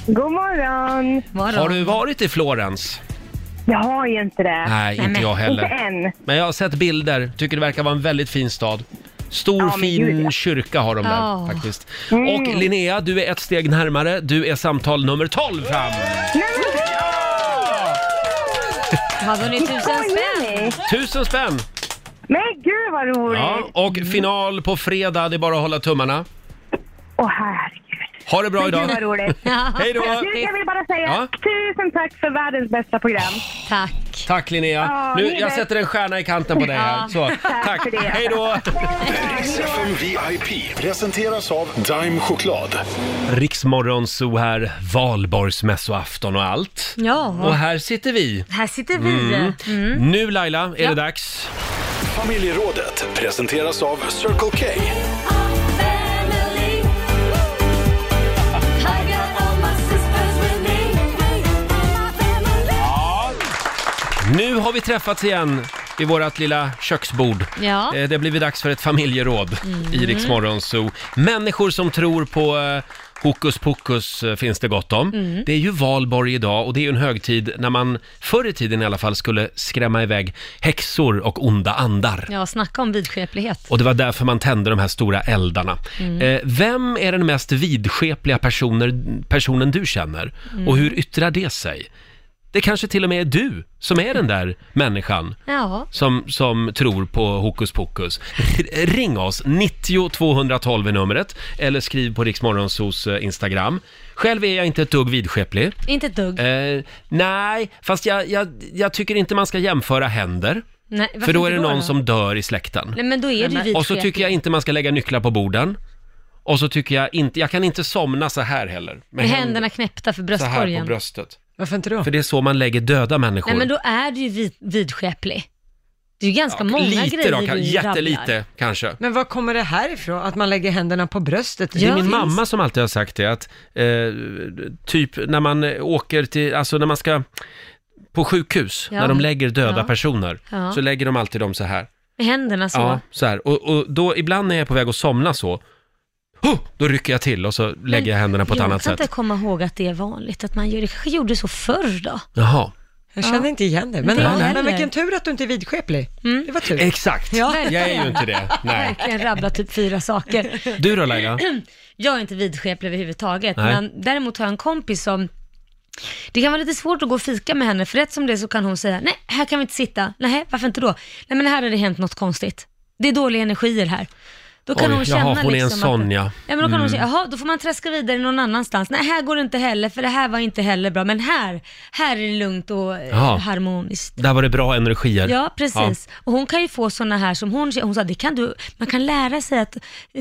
Speaker 8: God morgon!
Speaker 2: Vadå?
Speaker 1: Har du varit i Florens?
Speaker 8: Jag har ju inte det.
Speaker 1: Nej,
Speaker 2: Nej,
Speaker 1: inte
Speaker 2: men-
Speaker 1: jag
Speaker 8: Inte
Speaker 1: heller.
Speaker 8: än.
Speaker 1: Men jag har sett bilder, tycker det verkar vara en väldigt fin stad. Stor
Speaker 8: Ja, men
Speaker 1: fin
Speaker 8: gud, ja. Mm.
Speaker 1: kyrka har de där
Speaker 2: Ja.
Speaker 1: faktiskt. Och Linnea, du är ett steg närmare. Du är samtal nummer 12 fram!
Speaker 8: Nej, men
Speaker 2: Har vunnit tusen
Speaker 8: skojar
Speaker 2: spänn!
Speaker 8: ni?
Speaker 1: Tusen spänn!
Speaker 8: Men gud vad roligt! Åh
Speaker 1: Ja, och final på fredag. Det är bara att hålla tummarna.
Speaker 8: herregud.
Speaker 1: Ha det bra
Speaker 8: Men gud
Speaker 1: idag!
Speaker 8: vad roligt.
Speaker 1: Hej då!
Speaker 8: Du, jag vill bara säga
Speaker 1: Ja.
Speaker 8: tusen tack för världens bästa program.
Speaker 2: Tack!
Speaker 1: Tack Linnea!
Speaker 8: Ja,
Speaker 1: Nu,
Speaker 8: ni är
Speaker 1: jag
Speaker 8: bäst.
Speaker 1: sätter en stjärna i kanten på dig här.
Speaker 2: Ja.
Speaker 1: Så, tack!
Speaker 8: för det.
Speaker 1: Hej då!
Speaker 4: Riks FM VIP presenteras av Dime Choklad.
Speaker 1: Riksmorgon så här, valborgsmässoafton och allt. Och
Speaker 2: Ja,
Speaker 1: här sitter vi.
Speaker 2: här sitter vi.
Speaker 1: Mm. Nu Laila, är det dags.
Speaker 4: Familjerådet presenteras av Circle K.
Speaker 1: Nu har vi träffats igen vid vårt lilla köksbord.
Speaker 2: Ja.
Speaker 1: Eh, Det har blivit dags för ett familjeråd i Rix Morgon Zoo. Människor som tror på eh, hokus pokus eh, finns det gott om. Det är ju valborg idag och det är ju en högtid när man förr i tiden i alla fall skulle skrämma iväg häxor och onda andar.
Speaker 2: Ja, snacka om vidskeplighet.
Speaker 1: Och det var därför man tände de här stora eldarna.
Speaker 2: Mm.
Speaker 1: Eh, vem är den mest vidskepliga personer, personen du känner?
Speaker 2: Mm.
Speaker 1: Och hur yttrar det sig? Det kanske till och med är du som är den där människan
Speaker 2: Ja.
Speaker 1: som, som tror på hokus pokus. R- Ring oss, 90 212 är numret, eller skriv på Riksmorgonsos eh, Instagram. Själv är jag inte ett dugg vidskeplig.
Speaker 2: Inte ett dugg.
Speaker 1: Eh, nej, fast jag, jag, jag tycker inte man ska jämföra händer,
Speaker 2: Nej, varför
Speaker 1: för då är
Speaker 2: inte
Speaker 1: det någon
Speaker 2: då?
Speaker 1: som dör i släkten.
Speaker 2: Nej men då är du vidskeplig.
Speaker 1: Och så tycker jag inte man ska lägga nycklar på borden. Och så tycker jag inte, jag kan inte somna så här heller.
Speaker 2: Med händerna knäppta för
Speaker 1: så här på
Speaker 2: bröstkorgen.
Speaker 1: bröstet.
Speaker 3: Varför inte då?
Speaker 1: För det är så man lägger döda människor.
Speaker 2: Nej men då är du ju vid, vidskeplig. Det är ju ganska många
Speaker 1: Lite
Speaker 2: grejer
Speaker 1: då,
Speaker 2: du
Speaker 1: kan,
Speaker 2: rabblar.
Speaker 1: jättelite kanske.
Speaker 3: Men var kommer det här ifrån? Att man lägger händerna på bröstet?
Speaker 1: Det är
Speaker 2: Ja.
Speaker 1: min
Speaker 2: finns.
Speaker 1: mamma som alltid har sagt det, att eh, typ när man eh, åker till, alltså när man ska på sjukhus,
Speaker 2: Ja.
Speaker 1: när de lägger döda
Speaker 2: Ja.
Speaker 1: personer,
Speaker 2: Ja.
Speaker 1: så lägger de alltid dem så här.
Speaker 2: Med händerna så.
Speaker 1: Ja, så här. Och, och då, ibland när jag är på väg att somna så, "Huh!" då rycker jag till och så lägger jag händerna på ett
Speaker 2: jag
Speaker 1: annat
Speaker 2: kan
Speaker 1: sätt.
Speaker 2: inte komma ihåg att det är vanligt att man gör det. kanske gjorde så förr då.
Speaker 1: Jaha,
Speaker 3: Jag känner inte igen det. Men,
Speaker 2: Inte jag
Speaker 3: men,
Speaker 2: heller.
Speaker 3: vilken tur att du inte är vidskeplig. Det var tur.
Speaker 1: exakt.
Speaker 2: Ja.
Speaker 1: Jag är ju inte det. Nej.
Speaker 2: Verkligen rabbla typ fyra saker.
Speaker 1: Du då Laila?
Speaker 2: Jag är inte vidskeplig överhuvudtaget,
Speaker 1: Nej.
Speaker 2: men däremot har jag en kompis som det kan vara lite svårt att gå och fika med henne, för rätt som det är så kan hon säga, nej, här kan vi inte sitta, nej, varför inte då? Nej, men här har det hänt något konstigt. Det är dåliga energier här. Då kan
Speaker 1: Oj,
Speaker 2: hon känna
Speaker 1: jaha, hon är en
Speaker 2: liksom
Speaker 1: sån,
Speaker 2: att,
Speaker 1: ja. Mm.
Speaker 2: men då kan hon säga, jaha, då får man traska vidare någon annanstans. Nej, här går det inte heller, för det här var inte heller bra, men här, här är det lugnt och eh,
Speaker 1: Jaha.
Speaker 2: harmoniskt.
Speaker 1: Där var det bra energier.
Speaker 2: Ja, precis. Och hon kan ju få sådana här som hon, hon sa, det kan du, man kan lära sig att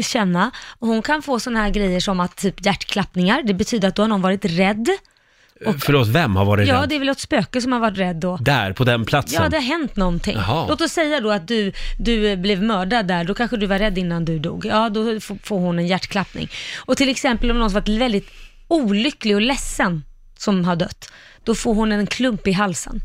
Speaker 2: känna. Och hon kan få sådana här grejer som att typ hjärtklappningar, det betyder att då har någon varit rädd.
Speaker 1: Ja. Förlåt, vem har varit
Speaker 2: Ja,
Speaker 1: rädd?
Speaker 2: det är väl ett spöke som har varit rädd då.
Speaker 1: Där, på den platsen?
Speaker 2: Ja, det har hänt någonting.
Speaker 1: Jaha.
Speaker 2: Låt oss säga då att du, du blev mördad där, då kanske du var rädd innan du dog. Ja, då f- får hon en hjärtklappning. Och till exempel om någon som varit väldigt olycklig och ledsen som har dött, då får hon en klump i halsen.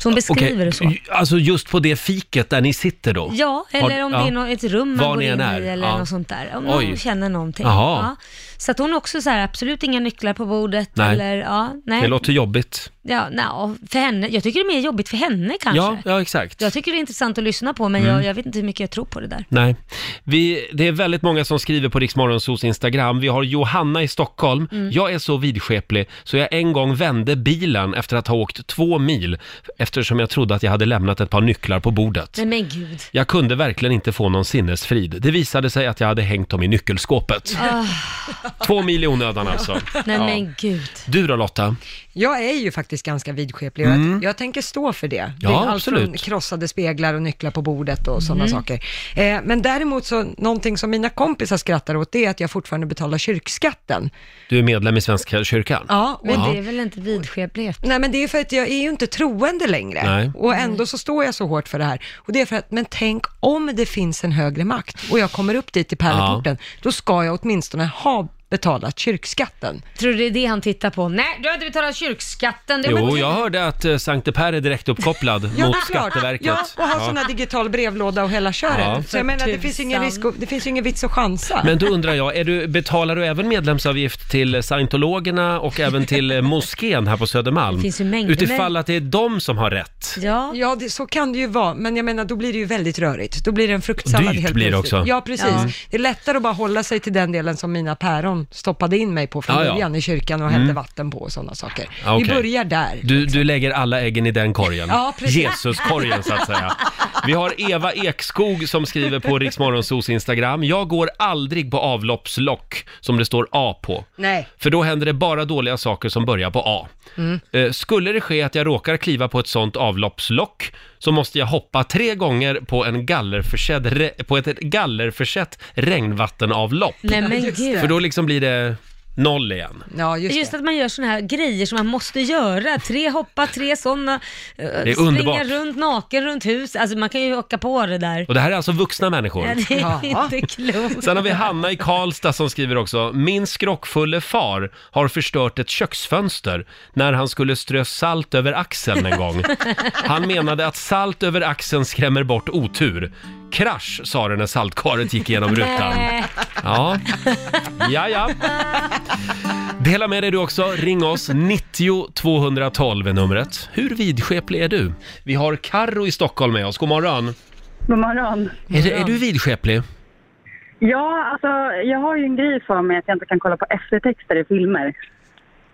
Speaker 2: Så hon beskriver
Speaker 1: Okej,
Speaker 2: det så.
Speaker 1: j- Alltså just på det fiket där ni sitter då?
Speaker 2: Ja, eller
Speaker 1: Har-
Speaker 2: om
Speaker 1: ja.
Speaker 2: det är nå- ett rum
Speaker 1: Var
Speaker 2: man går
Speaker 1: ni
Speaker 2: in
Speaker 1: än är,
Speaker 2: i eller
Speaker 1: ja.
Speaker 2: något sånt där. Om
Speaker 1: Oj.
Speaker 2: någon känner någonting.
Speaker 1: Jaha.
Speaker 2: Ja. Så att hon också så här, absolut inga nycklar på bordet
Speaker 1: Nej.
Speaker 2: eller ja, nej.
Speaker 1: Det låter jobbigt.
Speaker 2: Ja, nja, för henne. Jag tycker det är mer jobbigt för henne kanske.
Speaker 1: Ja, Mm. ja, exakt.
Speaker 2: Jag tycker det är intressant att lyssna på, men jag, jag vet inte hur mycket jag tror på det där.
Speaker 1: Nej. Vi, det är väldigt många som skriver på Riksmorgonsos Instagram. Vi har Johanna i Stockholm.
Speaker 2: Mm.
Speaker 1: Jag är så vidskeplig så jag en gång vände bilen efter att ha åkt två mil eftersom jag trodde att jag hade lämnat ett par nycklar på bordet.
Speaker 2: Nej men gud.
Speaker 1: Jag kunde verkligen inte få någon sinnesfrid. Det visade sig att jag hade hängt dem i nyckelskåpet. Två mil i onödan alltså.
Speaker 2: Nej
Speaker 1: Ja.
Speaker 2: men gud.
Speaker 1: Du då Lotta?
Speaker 3: Jag är ju faktiskt ganska vidskeplig och jag, jag tänker stå för det. det är
Speaker 1: Ja,
Speaker 3: allt från
Speaker 1: absolut.
Speaker 3: krossade speglar och nycklar på bordet och sådana saker. Eh, men däremot så, någonting som mina kompisar skrattar åt, det är att jag fortfarande betalar kyrkskatten.
Speaker 1: Du är medlem i Svenska kyrkan?
Speaker 3: Ja, och
Speaker 2: Men det är väl inte vidskeplighet?
Speaker 3: Nej, men det är för att jag är ju inte troende längre.
Speaker 1: Nej.
Speaker 3: Och ändå så står jag så hårt för det här. Och det är för att, men tänk om det finns en högre makt och jag kommer upp dit i pärleporten, då ska jag åtminstone ha betalat kyrkskatten.
Speaker 2: Tror du det är det han tittar på? Nej, du har inte betalat kyrkskatten. Det men-
Speaker 1: Jo, jag hörde att eh, Sankte Per är direkt uppkopplad
Speaker 3: Ja,
Speaker 1: mot
Speaker 3: det är klart.
Speaker 1: Skatteverket.
Speaker 3: Ja, och ha
Speaker 1: Ja.
Speaker 3: sån här digital brevlåda och hela köret.
Speaker 1: Ja.
Speaker 3: Så jag menar, det finns, ingen risk, och- det finns ju ingen vits att chansa.
Speaker 1: Men då undrar jag, är du, betalar du även medlemsavgift till scientologerna och även till eh, moskén här på Södermalm?
Speaker 2: Det finns ju mängder
Speaker 1: Utifall att det är de som har rätt.
Speaker 2: Ja.
Speaker 3: Ja, det, så kan det ju vara, men jag menar då blir det ju väldigt rörigt. Då blir det en fruktsallad
Speaker 1: Dyrt
Speaker 3: helt
Speaker 1: blir det
Speaker 3: plötsligt.
Speaker 1: också.
Speaker 3: Ja, precis.
Speaker 2: Ja.
Speaker 3: Det är lättare att bara hålla sig till den delen som mina päron stoppade in mig på från
Speaker 1: Ja, ja.
Speaker 3: början i kyrkan och hällde vatten på och sådana saker.
Speaker 1: Ja, Ah, okej.
Speaker 3: Vi börjar där. liksom.
Speaker 1: Du, du lägger alla äggen i den korgen.
Speaker 3: Ja, precis.
Speaker 1: Jesuskorgen så att säga. Vi har Eva Ekskog som skriver på Riksmorgonsos Instagram. Jag går aldrig på avloppslock som det står A på.
Speaker 3: Nej.
Speaker 1: För då händer det bara dåliga saker som börjar på A.
Speaker 3: Mm.
Speaker 1: Eh, Skulle det ske att jag råkar kliva på ett sånt avloppslock så måste jag hoppa tre gånger på, en gallerförsedd, re- på ett gallerförsett regnvattenavlopp.
Speaker 2: Nej men
Speaker 3: Just
Speaker 2: gud.
Speaker 1: För då liksom blir det noll igen.
Speaker 3: Ja, just,
Speaker 2: Just
Speaker 3: det.
Speaker 2: att man gör såna här grejer som man måste göra. Tre hoppa, tre sådana. Det
Speaker 1: är
Speaker 2: springa
Speaker 1: underbart.
Speaker 2: runt naken runt hus. Alltså man kan ju åka på det där.
Speaker 1: Och det här är alltså vuxna människor.
Speaker 2: Nej, det är
Speaker 3: Ja.
Speaker 2: inte klokt.
Speaker 1: Sen har vi Hanna i Karlstad som skriver också. Min skrockfulle far har förstört ett köksfönster när han skulle strö salt över axeln en gång. Han menade att salt över axeln skrämmer bort otur. Krasch sa det när saltkaret gick igenom
Speaker 2: Eh,
Speaker 1: rutan.
Speaker 2: Nej.
Speaker 1: Ja, ja, ja. Dela med dig du också. Ring oss. 90 212 är numret. Hur vidskeplig är du? Vi har Karro i Stockholm med oss. God morgon.
Speaker 8: God morgon.
Speaker 1: Är, det- är du vidskeplig?
Speaker 8: Ja, alltså jag har ju en grej för mig att jag inte kan kolla på eftertexter i filmer.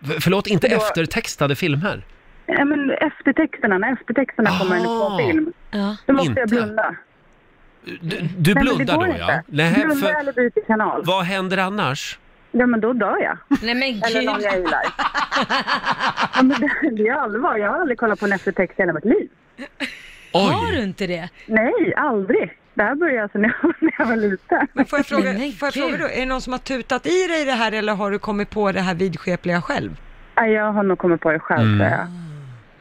Speaker 1: F- förlåt, inte eftertextade filmer?
Speaker 8: Ja, men eftertexterna, när eftertexterna
Speaker 1: Aha.
Speaker 8: kommer in på film,
Speaker 2: Ja.
Speaker 8: då måste
Speaker 1: Inte.
Speaker 8: jag blunda.
Speaker 1: Du, du
Speaker 8: Nej, men det
Speaker 1: blundar
Speaker 8: går
Speaker 1: då
Speaker 8: inte.
Speaker 1: ja?
Speaker 8: Blunda
Speaker 1: Nej, för,
Speaker 8: eller byter kanal.
Speaker 1: vad händer annars?
Speaker 8: Ja, men då dör jag.
Speaker 2: Nej men
Speaker 8: Eller någon
Speaker 2: gud.
Speaker 8: jag gillar. ja, men det, det är allvar. Jag har aldrig kollat på en eftertext i hela mitt liv.
Speaker 2: Har du
Speaker 1: Oj!
Speaker 2: inte det?
Speaker 8: Nej, aldrig. Det här började alltså när jag, när jag var liten.
Speaker 3: Men får jag, fråga,
Speaker 2: Men
Speaker 3: får jag
Speaker 2: gud.
Speaker 3: fråga då, är det någon som har tutat i dig det här eller har du kommit på det här vidskepliga själv?
Speaker 8: Nej, Jag har nog kommit på det själv, tror jag.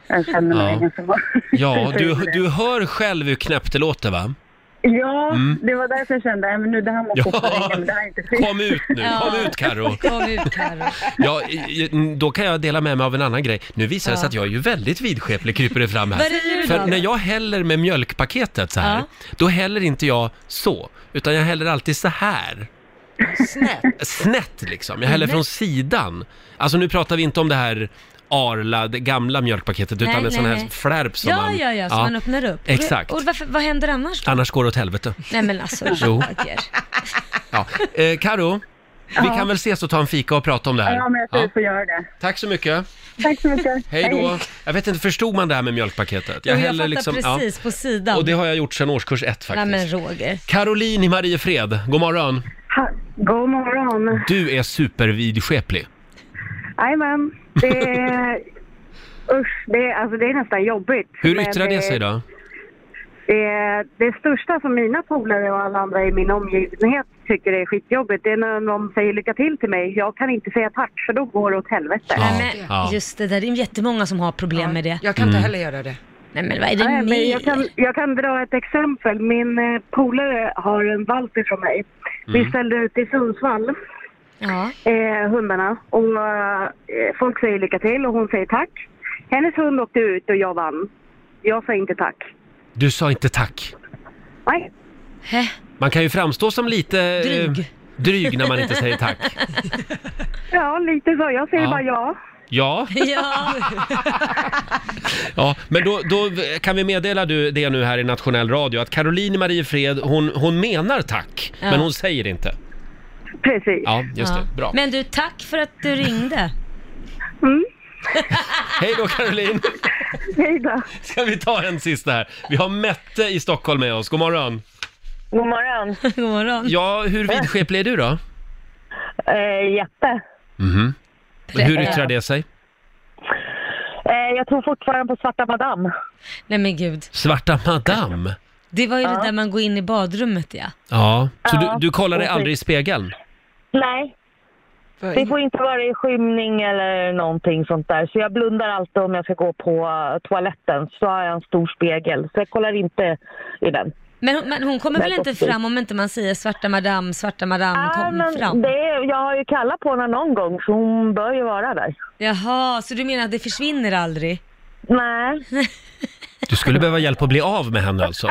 Speaker 8: Jag känner mig
Speaker 1: Mm. Ja.
Speaker 8: ganska bra.
Speaker 1: Ja, du,
Speaker 8: Precis.
Speaker 1: du hör själv hur knäppt det låter va?
Speaker 8: Ja, det var därför jag kände att det här måste
Speaker 1: Mm. Ja.
Speaker 8: jag få ringa, men det här är inte fint.
Speaker 1: Kom ut nu,
Speaker 2: Ja.
Speaker 1: kom ut Karo.
Speaker 2: Kom ut Carro.
Speaker 1: Ja, i- i- då kan jag dela med mig av en annan grej. Nu visar det sig att jag är ju väldigt vidskeplig, kryper det fram
Speaker 2: Vad är det
Speaker 1: här.
Speaker 2: nu
Speaker 1: För
Speaker 2: då?
Speaker 1: när jag häller med mjölkpaketet så här,
Speaker 2: Ja.
Speaker 1: då häller inte jag så, utan jag häller alltid så här.
Speaker 3: Snett.
Speaker 1: snett liksom. Jag
Speaker 2: Mm.
Speaker 1: häller från sidan. Alltså nu pratar vi inte om det här Arla, det gamla mjölkpaketet, utan
Speaker 2: Nej,
Speaker 1: en sån
Speaker 2: nej,
Speaker 1: här
Speaker 2: nej.
Speaker 1: flärp som
Speaker 2: Ja,
Speaker 1: man...
Speaker 2: ja, ja, så man öppnar upp.
Speaker 1: Exakt.
Speaker 2: Och varför, vad händer annars då?
Speaker 1: Annars går det åt helvete.
Speaker 2: Nej men alltså,
Speaker 1: Jo.
Speaker 2: Roger.
Speaker 1: Ja. Eh, Karo, vi kan väl ses och ta en fika och prata om det här.
Speaker 8: Ja, men jag tror
Speaker 1: Ja.
Speaker 8: vi får göra det.
Speaker 1: Tack så mycket.
Speaker 8: Tack så mycket.
Speaker 1: Hej då. Jag vet inte, förstod man det här med mjölkpaketet?
Speaker 2: Jag, jag
Speaker 1: häller liksom-
Speaker 2: fattar precis på sidan.
Speaker 1: Och det har jag gjort sedan årskurs ett
Speaker 2: Nej
Speaker 1: faktiskt.
Speaker 2: men Roger.
Speaker 1: Caroline i Mariefred, god morgon.
Speaker 8: Ha, god morgon.
Speaker 1: Du är supervidskeplig.
Speaker 8: Jajamän. Det är... Usch, det är, alltså, det är nästan jobbigt.
Speaker 1: Hur
Speaker 8: Men eh,
Speaker 1: yttrar det sig då?
Speaker 8: Det, det största som mina polare och alla andra i min omgivenhet tycker är skitjobbigt, det är när de säger lycka till till mig. Jag kan inte säga tack, för då går det åt helvete.
Speaker 1: Ja,
Speaker 2: Nej, men,
Speaker 1: ja.
Speaker 2: Just det, där, det är jättemånga som har problem med det.
Speaker 3: Jag kan
Speaker 1: Mm.
Speaker 3: inte heller göra det.
Speaker 2: Nej men vad är det
Speaker 8: Nej, men jag,
Speaker 2: mer?
Speaker 8: kan, jag kan dra ett exempel. Min eh, polare har en valp ifrån mig.
Speaker 9: Mm.
Speaker 8: Vi ställde ut i Sundsvall,
Speaker 2: Ja.
Speaker 8: eh, hundarna. Och, eh, folk säger lycka till och hon säger tack. Hennes hund åkte ut och jag vann. Jag sa inte tack.
Speaker 1: Du sa inte tack.
Speaker 8: Nej.
Speaker 2: Hä?
Speaker 1: Man kan ju framstå som lite... eh,
Speaker 2: Dryg.
Speaker 1: Dryg när man inte säger tack.
Speaker 8: Ja, lite så. Jag säger
Speaker 1: Ja.
Speaker 8: bara ja.
Speaker 1: Ja,
Speaker 2: Ja,
Speaker 1: ja. men då, då kan vi meddela du det nu här i nationell radio att Caroline Marie Fred, hon, hon menar tack,
Speaker 2: Ja.
Speaker 1: men hon säger inte.
Speaker 8: Precis.
Speaker 1: Ja, just
Speaker 2: ja.
Speaker 1: det. Bra.
Speaker 2: Men du, tack för att du ringde.
Speaker 1: Hej då Caroline!
Speaker 8: Hej då.
Speaker 1: Ska vi ta en sista här? Vi har Mette i Stockholm med oss. God morgon!
Speaker 9: God morgon.
Speaker 2: God morgon.
Speaker 1: Ja, hur vidskeplig är du då?
Speaker 9: Eh, Jeppe.
Speaker 1: Hur yttrar det sig?
Speaker 9: Eh, jag tror fortfarande på Svarta Madame.
Speaker 2: Nej men gud.
Speaker 1: Svarta madam?
Speaker 2: Det var ju det där man går in i badrummet ja.
Speaker 1: Ja, så
Speaker 9: Ja,
Speaker 1: du, du kollar dig
Speaker 9: precis.
Speaker 1: aldrig i spegeln?
Speaker 9: Nej, det får inte vara i skymning eller någonting sånt där. Så jag blundar alltid om jag ska gå på eh, toaletten. Så har jag en stor spegel. Så jag kollar inte i den.
Speaker 2: Men, hon- men hon kommer väl inte fram om inte man säger svarta madam, svarta madam,
Speaker 9: Ah,
Speaker 2: kom fram?
Speaker 9: det är, jag har ju kallat på henne någon gång så hon bör ju vara där.
Speaker 2: Jaha, så du menar att det försvinner aldrig?
Speaker 9: Nej,
Speaker 1: Du skulle behöva hjälp att bli av med henne alltså?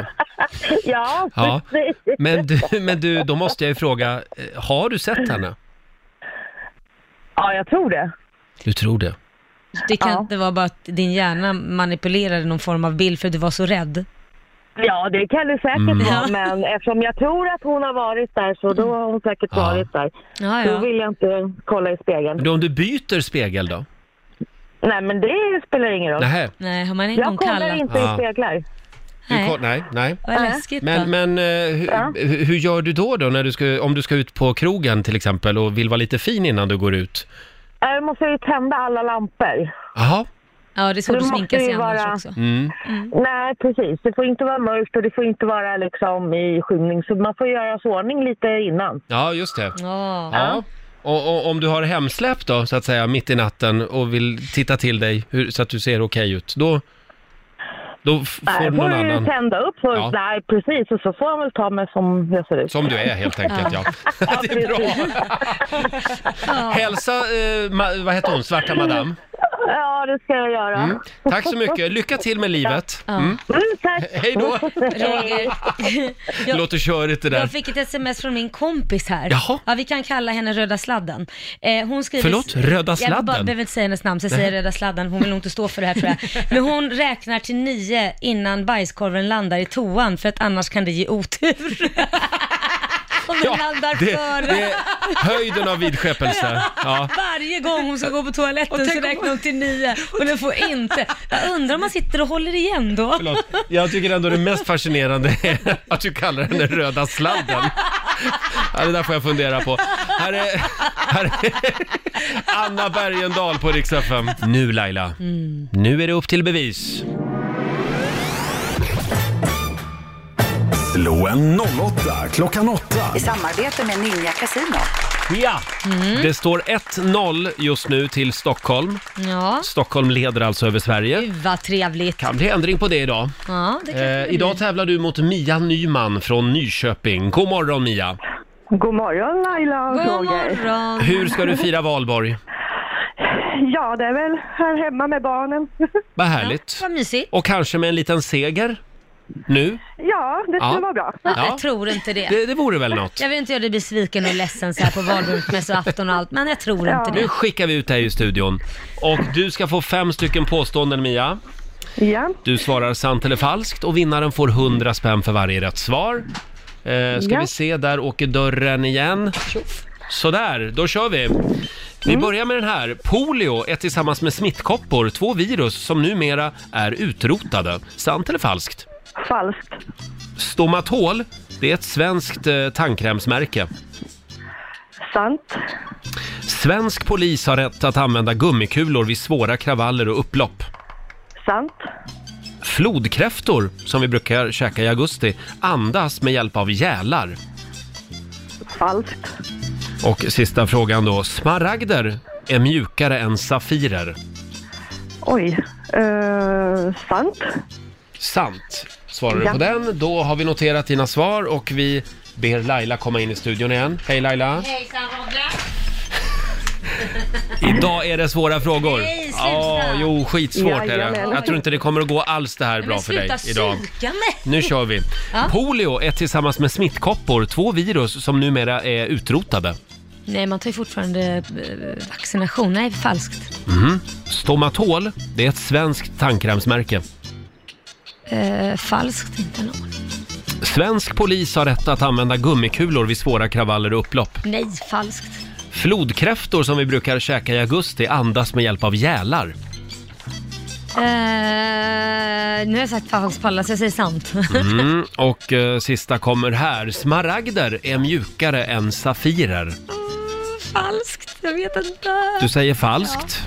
Speaker 9: ja,
Speaker 1: Ja.
Speaker 9: precis.
Speaker 1: Men du, men du då måste jag ju fråga, eh, har du sett henne?
Speaker 9: Ja, jag tror det.
Speaker 1: Du tror det?
Speaker 2: Det kan
Speaker 9: Ja.
Speaker 2: inte vara bara att din hjärna manipulerade någon form av bild för att du var så rädd.
Speaker 9: Ja, det kan det säkert
Speaker 1: Mm.
Speaker 9: vara, men eftersom jag tror att hon har varit där så då har hon säkert
Speaker 1: Ja.
Speaker 9: varit där.
Speaker 2: Ja,
Speaker 9: Då
Speaker 2: ja.
Speaker 9: vill jag inte kolla i spegeln.
Speaker 1: Men du, om du byter spegel då?
Speaker 9: Nej, men det spelar ingen roll.
Speaker 1: Nähä?
Speaker 2: Nej, har man en gång
Speaker 9: Jag kollar
Speaker 2: kallat?
Speaker 9: inte
Speaker 1: Ja.
Speaker 9: i speglar.
Speaker 1: Du
Speaker 2: Nej.
Speaker 1: koll- nej, nej.
Speaker 2: Vad läskigt
Speaker 1: Men,
Speaker 2: då.
Speaker 1: men eh, hur,
Speaker 9: Ja.
Speaker 1: hur- hur gör du då, då när du ska, om du ska ut på krogen till exempel och vill vara lite fin innan du går ut?
Speaker 9: Jag Äh, måste ju tända alla lampor.
Speaker 1: Jaha,
Speaker 2: Ja, det är svårt
Speaker 9: Det
Speaker 2: att
Speaker 9: måste
Speaker 2: sminka sig
Speaker 9: ju
Speaker 2: annars
Speaker 9: vara-
Speaker 2: också.
Speaker 1: mm.
Speaker 9: Nej, precis. Det får inte vara mörkt och det får inte vara liksom i skymning. Så man får göra sig ordning lite innan.
Speaker 1: ja just det.
Speaker 2: Ja.
Speaker 1: Ja. Och, och om du har hemsläpp då, så att säga, mitt i natten och vill titta till dig hur, så att du ser okej ut, då, då f- får
Speaker 9: Nej,
Speaker 1: någon
Speaker 9: Äh, får ju
Speaker 1: annan...
Speaker 9: tända upp först.
Speaker 1: Ja.
Speaker 9: Nej, precis. Och så får han väl ta mig som jag ser ut.
Speaker 1: Som du är helt enkelt, ja. Det är bra. Hälsa, eh, ma- vad heter hon, Svarta Madame.
Speaker 9: Ja, det ska jag göra.
Speaker 1: Mm. Tack så mycket, lycka till med livet. Mm.
Speaker 9: Mm, tack.
Speaker 1: Hej då!
Speaker 2: Roger, Ja.
Speaker 1: Låter körigt det där.
Speaker 2: jag fick ett sms från min kompis här.
Speaker 1: Jaha.
Speaker 2: Ja, vi kan kalla henne Röda Sladden. Eh, hon skriver...
Speaker 1: Förlåt, Röda
Speaker 2: Jag bara,
Speaker 1: Sladden?
Speaker 2: behöver inte säga hennes namn, så jag säger Röda Sladden. Hon vill nog inte stå för det här tror jag. Men hon räknar till nio innan bajskorven landar i toan, för att annars kan det ge otur. Om den landar
Speaker 1: det,
Speaker 2: före.
Speaker 1: det är höjden av vidskepelse. Ja.
Speaker 2: Varje gång hon ska gå på toaletten så
Speaker 3: om-
Speaker 2: räknar hon till nio och den får inte. Jag undrar om man sitter och håller igen då.
Speaker 1: Förlåt. Jag tycker ändå det mest fascinerande är att du kallar den den röda sladden. Ja, det där får jag fundera på. Här är, här är Anna Bergendahl på Rix FM. Nu Laila, nu är det upp till bevis.
Speaker 4: Slå en 08 klockan 8.
Speaker 7: I samarbete med Ninja Casino.
Speaker 1: Ja! Det står 1-0 just nu till Stockholm.
Speaker 2: Ja,
Speaker 1: Stockholm leder alltså över Sverige.
Speaker 2: gud vad trevligt.
Speaker 1: Kan bli ändring på det idag.
Speaker 2: Ja, det kan
Speaker 1: Eh, idag tävlar du mot Mia Nyman från Nyköping. God morgon Mia!
Speaker 9: God morgon Laila och
Speaker 2: God morgon.
Speaker 1: Hur ska du fira valborg?
Speaker 9: Ja, det är väl här hemma med barnen.
Speaker 1: Vad härligt.
Speaker 2: Vad mysigt.
Speaker 1: Och kanske med en liten seger nu?
Speaker 9: Ja, det
Speaker 1: skulle Ja. vara
Speaker 9: bra.
Speaker 1: Ja,
Speaker 2: Jag tror inte det.
Speaker 1: det, det vore väl något.
Speaker 2: Jag vill inte göra dig besviken och ledsen så här på valborgsmässoafton och allt, men jag tror inte
Speaker 1: Nu
Speaker 2: det.
Speaker 1: skickar vi ut dig i studion. Och du ska få fem stycken påståenden Mia.
Speaker 9: Ja.
Speaker 1: Du svarar sant eller falskt och vinnaren får 100 spänn för varje rätt svar. Eh, ska
Speaker 9: Ja.
Speaker 1: vi se, där åker dörren igen. Sådär, då kör vi.
Speaker 9: Mm.
Speaker 1: Vi börjar med den här. Polio är tillsammans med smittkoppor två virus som numera är utrotade. Sant eller falskt?
Speaker 9: Falskt.
Speaker 1: Stomatol, det är ett svenskt eh, tandkrämsmärke.
Speaker 9: Sant.
Speaker 1: Svensk polis har rätt att använda gummikulor vid svåra kravaller och upplopp.
Speaker 9: Sant.
Speaker 1: Flodkräftor, som vi brukar käka i augusti, andas med hjälp av gälar.
Speaker 9: Falskt.
Speaker 1: Och sista frågan då. Smaragder är mjukare än safirer.
Speaker 9: Oj. Eh, sant.
Speaker 1: Sant. Svarar du
Speaker 9: Ja.
Speaker 1: på den, då har vi noterat dina svar och vi ber Laila komma in i studion igen. Hej Laila!
Speaker 2: Hejsan Roger.
Speaker 1: Idag är det svåra frågor.
Speaker 2: Nej, sluta.
Speaker 1: Ja, jo, skitsvårt är det.
Speaker 9: Jajamän.
Speaker 1: Jag tror inte det kommer att gå alls det här bra
Speaker 2: men
Speaker 1: för dig
Speaker 2: sluta
Speaker 1: idag.
Speaker 2: psyka mig!
Speaker 1: Nu kör vi.
Speaker 2: Ja.
Speaker 1: Polio är tillsammans med smittkoppor två virus som numera är utrotade.
Speaker 2: Nej, man tar ju fortfarande eh, vaccination. Nej, falskt.
Speaker 1: Stomatol, det är ett svenskt tandkrämsmärke.
Speaker 2: Eh, falskt, inte en aning.
Speaker 1: Svensk polis har rätt att använda gummikulor vid svåra kravaller och upplopp.
Speaker 2: Nej, falskt.
Speaker 1: Flodkräftor som vi brukar käka i augusti andas med hjälp av gälar.
Speaker 2: Eh, nu har jag sagt falskt på alla, så jag säger sant.
Speaker 1: Mm, och eh, sista kommer här. Smaragder är mjukare än safirer.
Speaker 2: falskt, jag vet inte.
Speaker 1: Du säger falskt.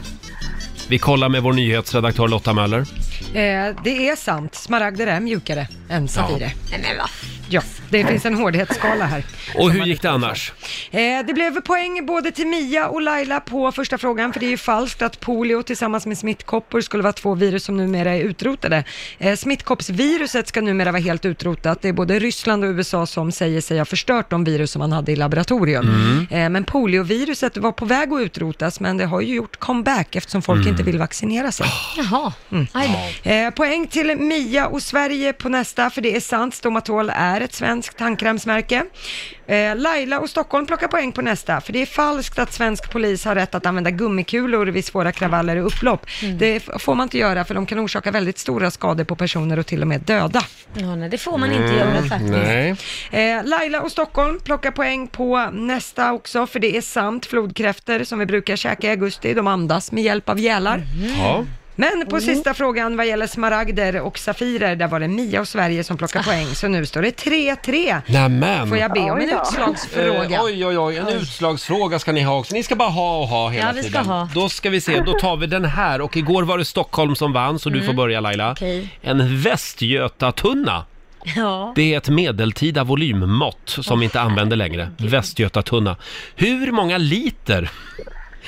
Speaker 1: Vi kollar med vår nyhetsredaktör Lotta Möller.
Speaker 3: Eh, det är sant, smaragder är mjukare än safirer.
Speaker 2: Nej, men vad
Speaker 3: Ja, det finns en hårdhetsskala här.
Speaker 1: Och hur gick det annars?
Speaker 3: Eh, det blev poäng både till Mia och Laila på första frågan, för det är ju falskt att polio tillsammans med smittkoppor skulle vara två virus som numera är utrotade. Eh, smittkoppsviruset ska numera vara helt utrotat. Det är både Ryssland och USA som säger sig ha förstört de virus som man hade i laboratorium. Eh, men polioviruset var på väg att utrotas, men det har ju gjort comeback eftersom folk inte vill vaccinera sig.
Speaker 2: Jaha.
Speaker 1: Mm.
Speaker 2: Aj då.
Speaker 3: Eh, poäng till Mia och Sverige på nästa, för det är sant. Stomatol är ett svenskt tandkrämsmärke. Eh, Laila och Stockholm plockar poäng på nästa, för det är falskt att svensk polis har rätt att använda gummikulor vid svåra kravaller och upplopp. Det f- får man inte göra, för de kan orsaka väldigt stora skador på personer och till och med döda.
Speaker 2: Ja, nej, det får man inte
Speaker 1: Mm,
Speaker 2: göra faktiskt.
Speaker 3: Eh, Laila och Stockholm plockar poäng på nästa också, för det är sant. Flodkräfter som vi brukar käka i augusti, de andas med hjälp av gälar.
Speaker 1: Ja.
Speaker 3: Men på sista frågan vad gäller smaragder och safirer, där var det Mia och Sverige som plockade poäng, så nu står det 3-3.
Speaker 1: Nämen!
Speaker 3: Får jag be om en
Speaker 7: Oj då.
Speaker 3: utslagsfråga?
Speaker 1: Eh, oj, oj, oj, en utslagsfråga ska ni ha också. Ni ska bara ha och ha hela
Speaker 2: Ja, vi ska
Speaker 1: tiden.
Speaker 2: ha.
Speaker 1: Då ska vi se, då tar vi den här. Och igår var det Stockholm som vann, så du får börja Laila.
Speaker 2: Mm. Okej.
Speaker 1: En västgötatunna.
Speaker 2: Ja.
Speaker 1: Det är ett medeltida volymmått som vi inte använder längre. Västgötatunna. Hur många liter,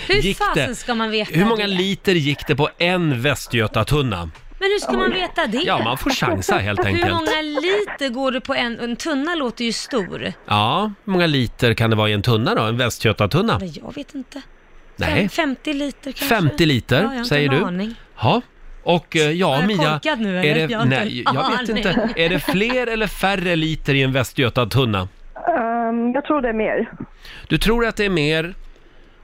Speaker 2: Hur
Speaker 1: Gick det?
Speaker 2: fasen ska man veta
Speaker 1: hur många
Speaker 2: det?
Speaker 1: liter gick det på en västgötatunna?
Speaker 2: Men hur ska man veta det?
Speaker 1: Ja, man får chansa helt
Speaker 2: hur
Speaker 1: enkelt.
Speaker 2: många liter går det på en... En tunna låter ju stor.
Speaker 1: Ja, hur många liter kan det vara i en tunna då? En västgötatunna?
Speaker 2: Men jag vet inte.
Speaker 1: Nej.
Speaker 2: Fem- 50 liter kanske?
Speaker 1: 50 liter,
Speaker 2: Ja, jag har inte
Speaker 1: säger
Speaker 2: en
Speaker 1: du.
Speaker 2: Aning.
Speaker 1: Ja. Och eh, ja,
Speaker 2: Har jag
Speaker 1: Mia,
Speaker 2: korkat nu,
Speaker 1: är
Speaker 2: eller?
Speaker 1: det,
Speaker 2: Jag har inte
Speaker 1: nej,
Speaker 2: en
Speaker 1: jag vet
Speaker 2: aning.
Speaker 1: inte. Är det fler eller färre liter i en västgötatunna?
Speaker 7: Ehm, jag tror det är mer.
Speaker 1: Du tror att det är mer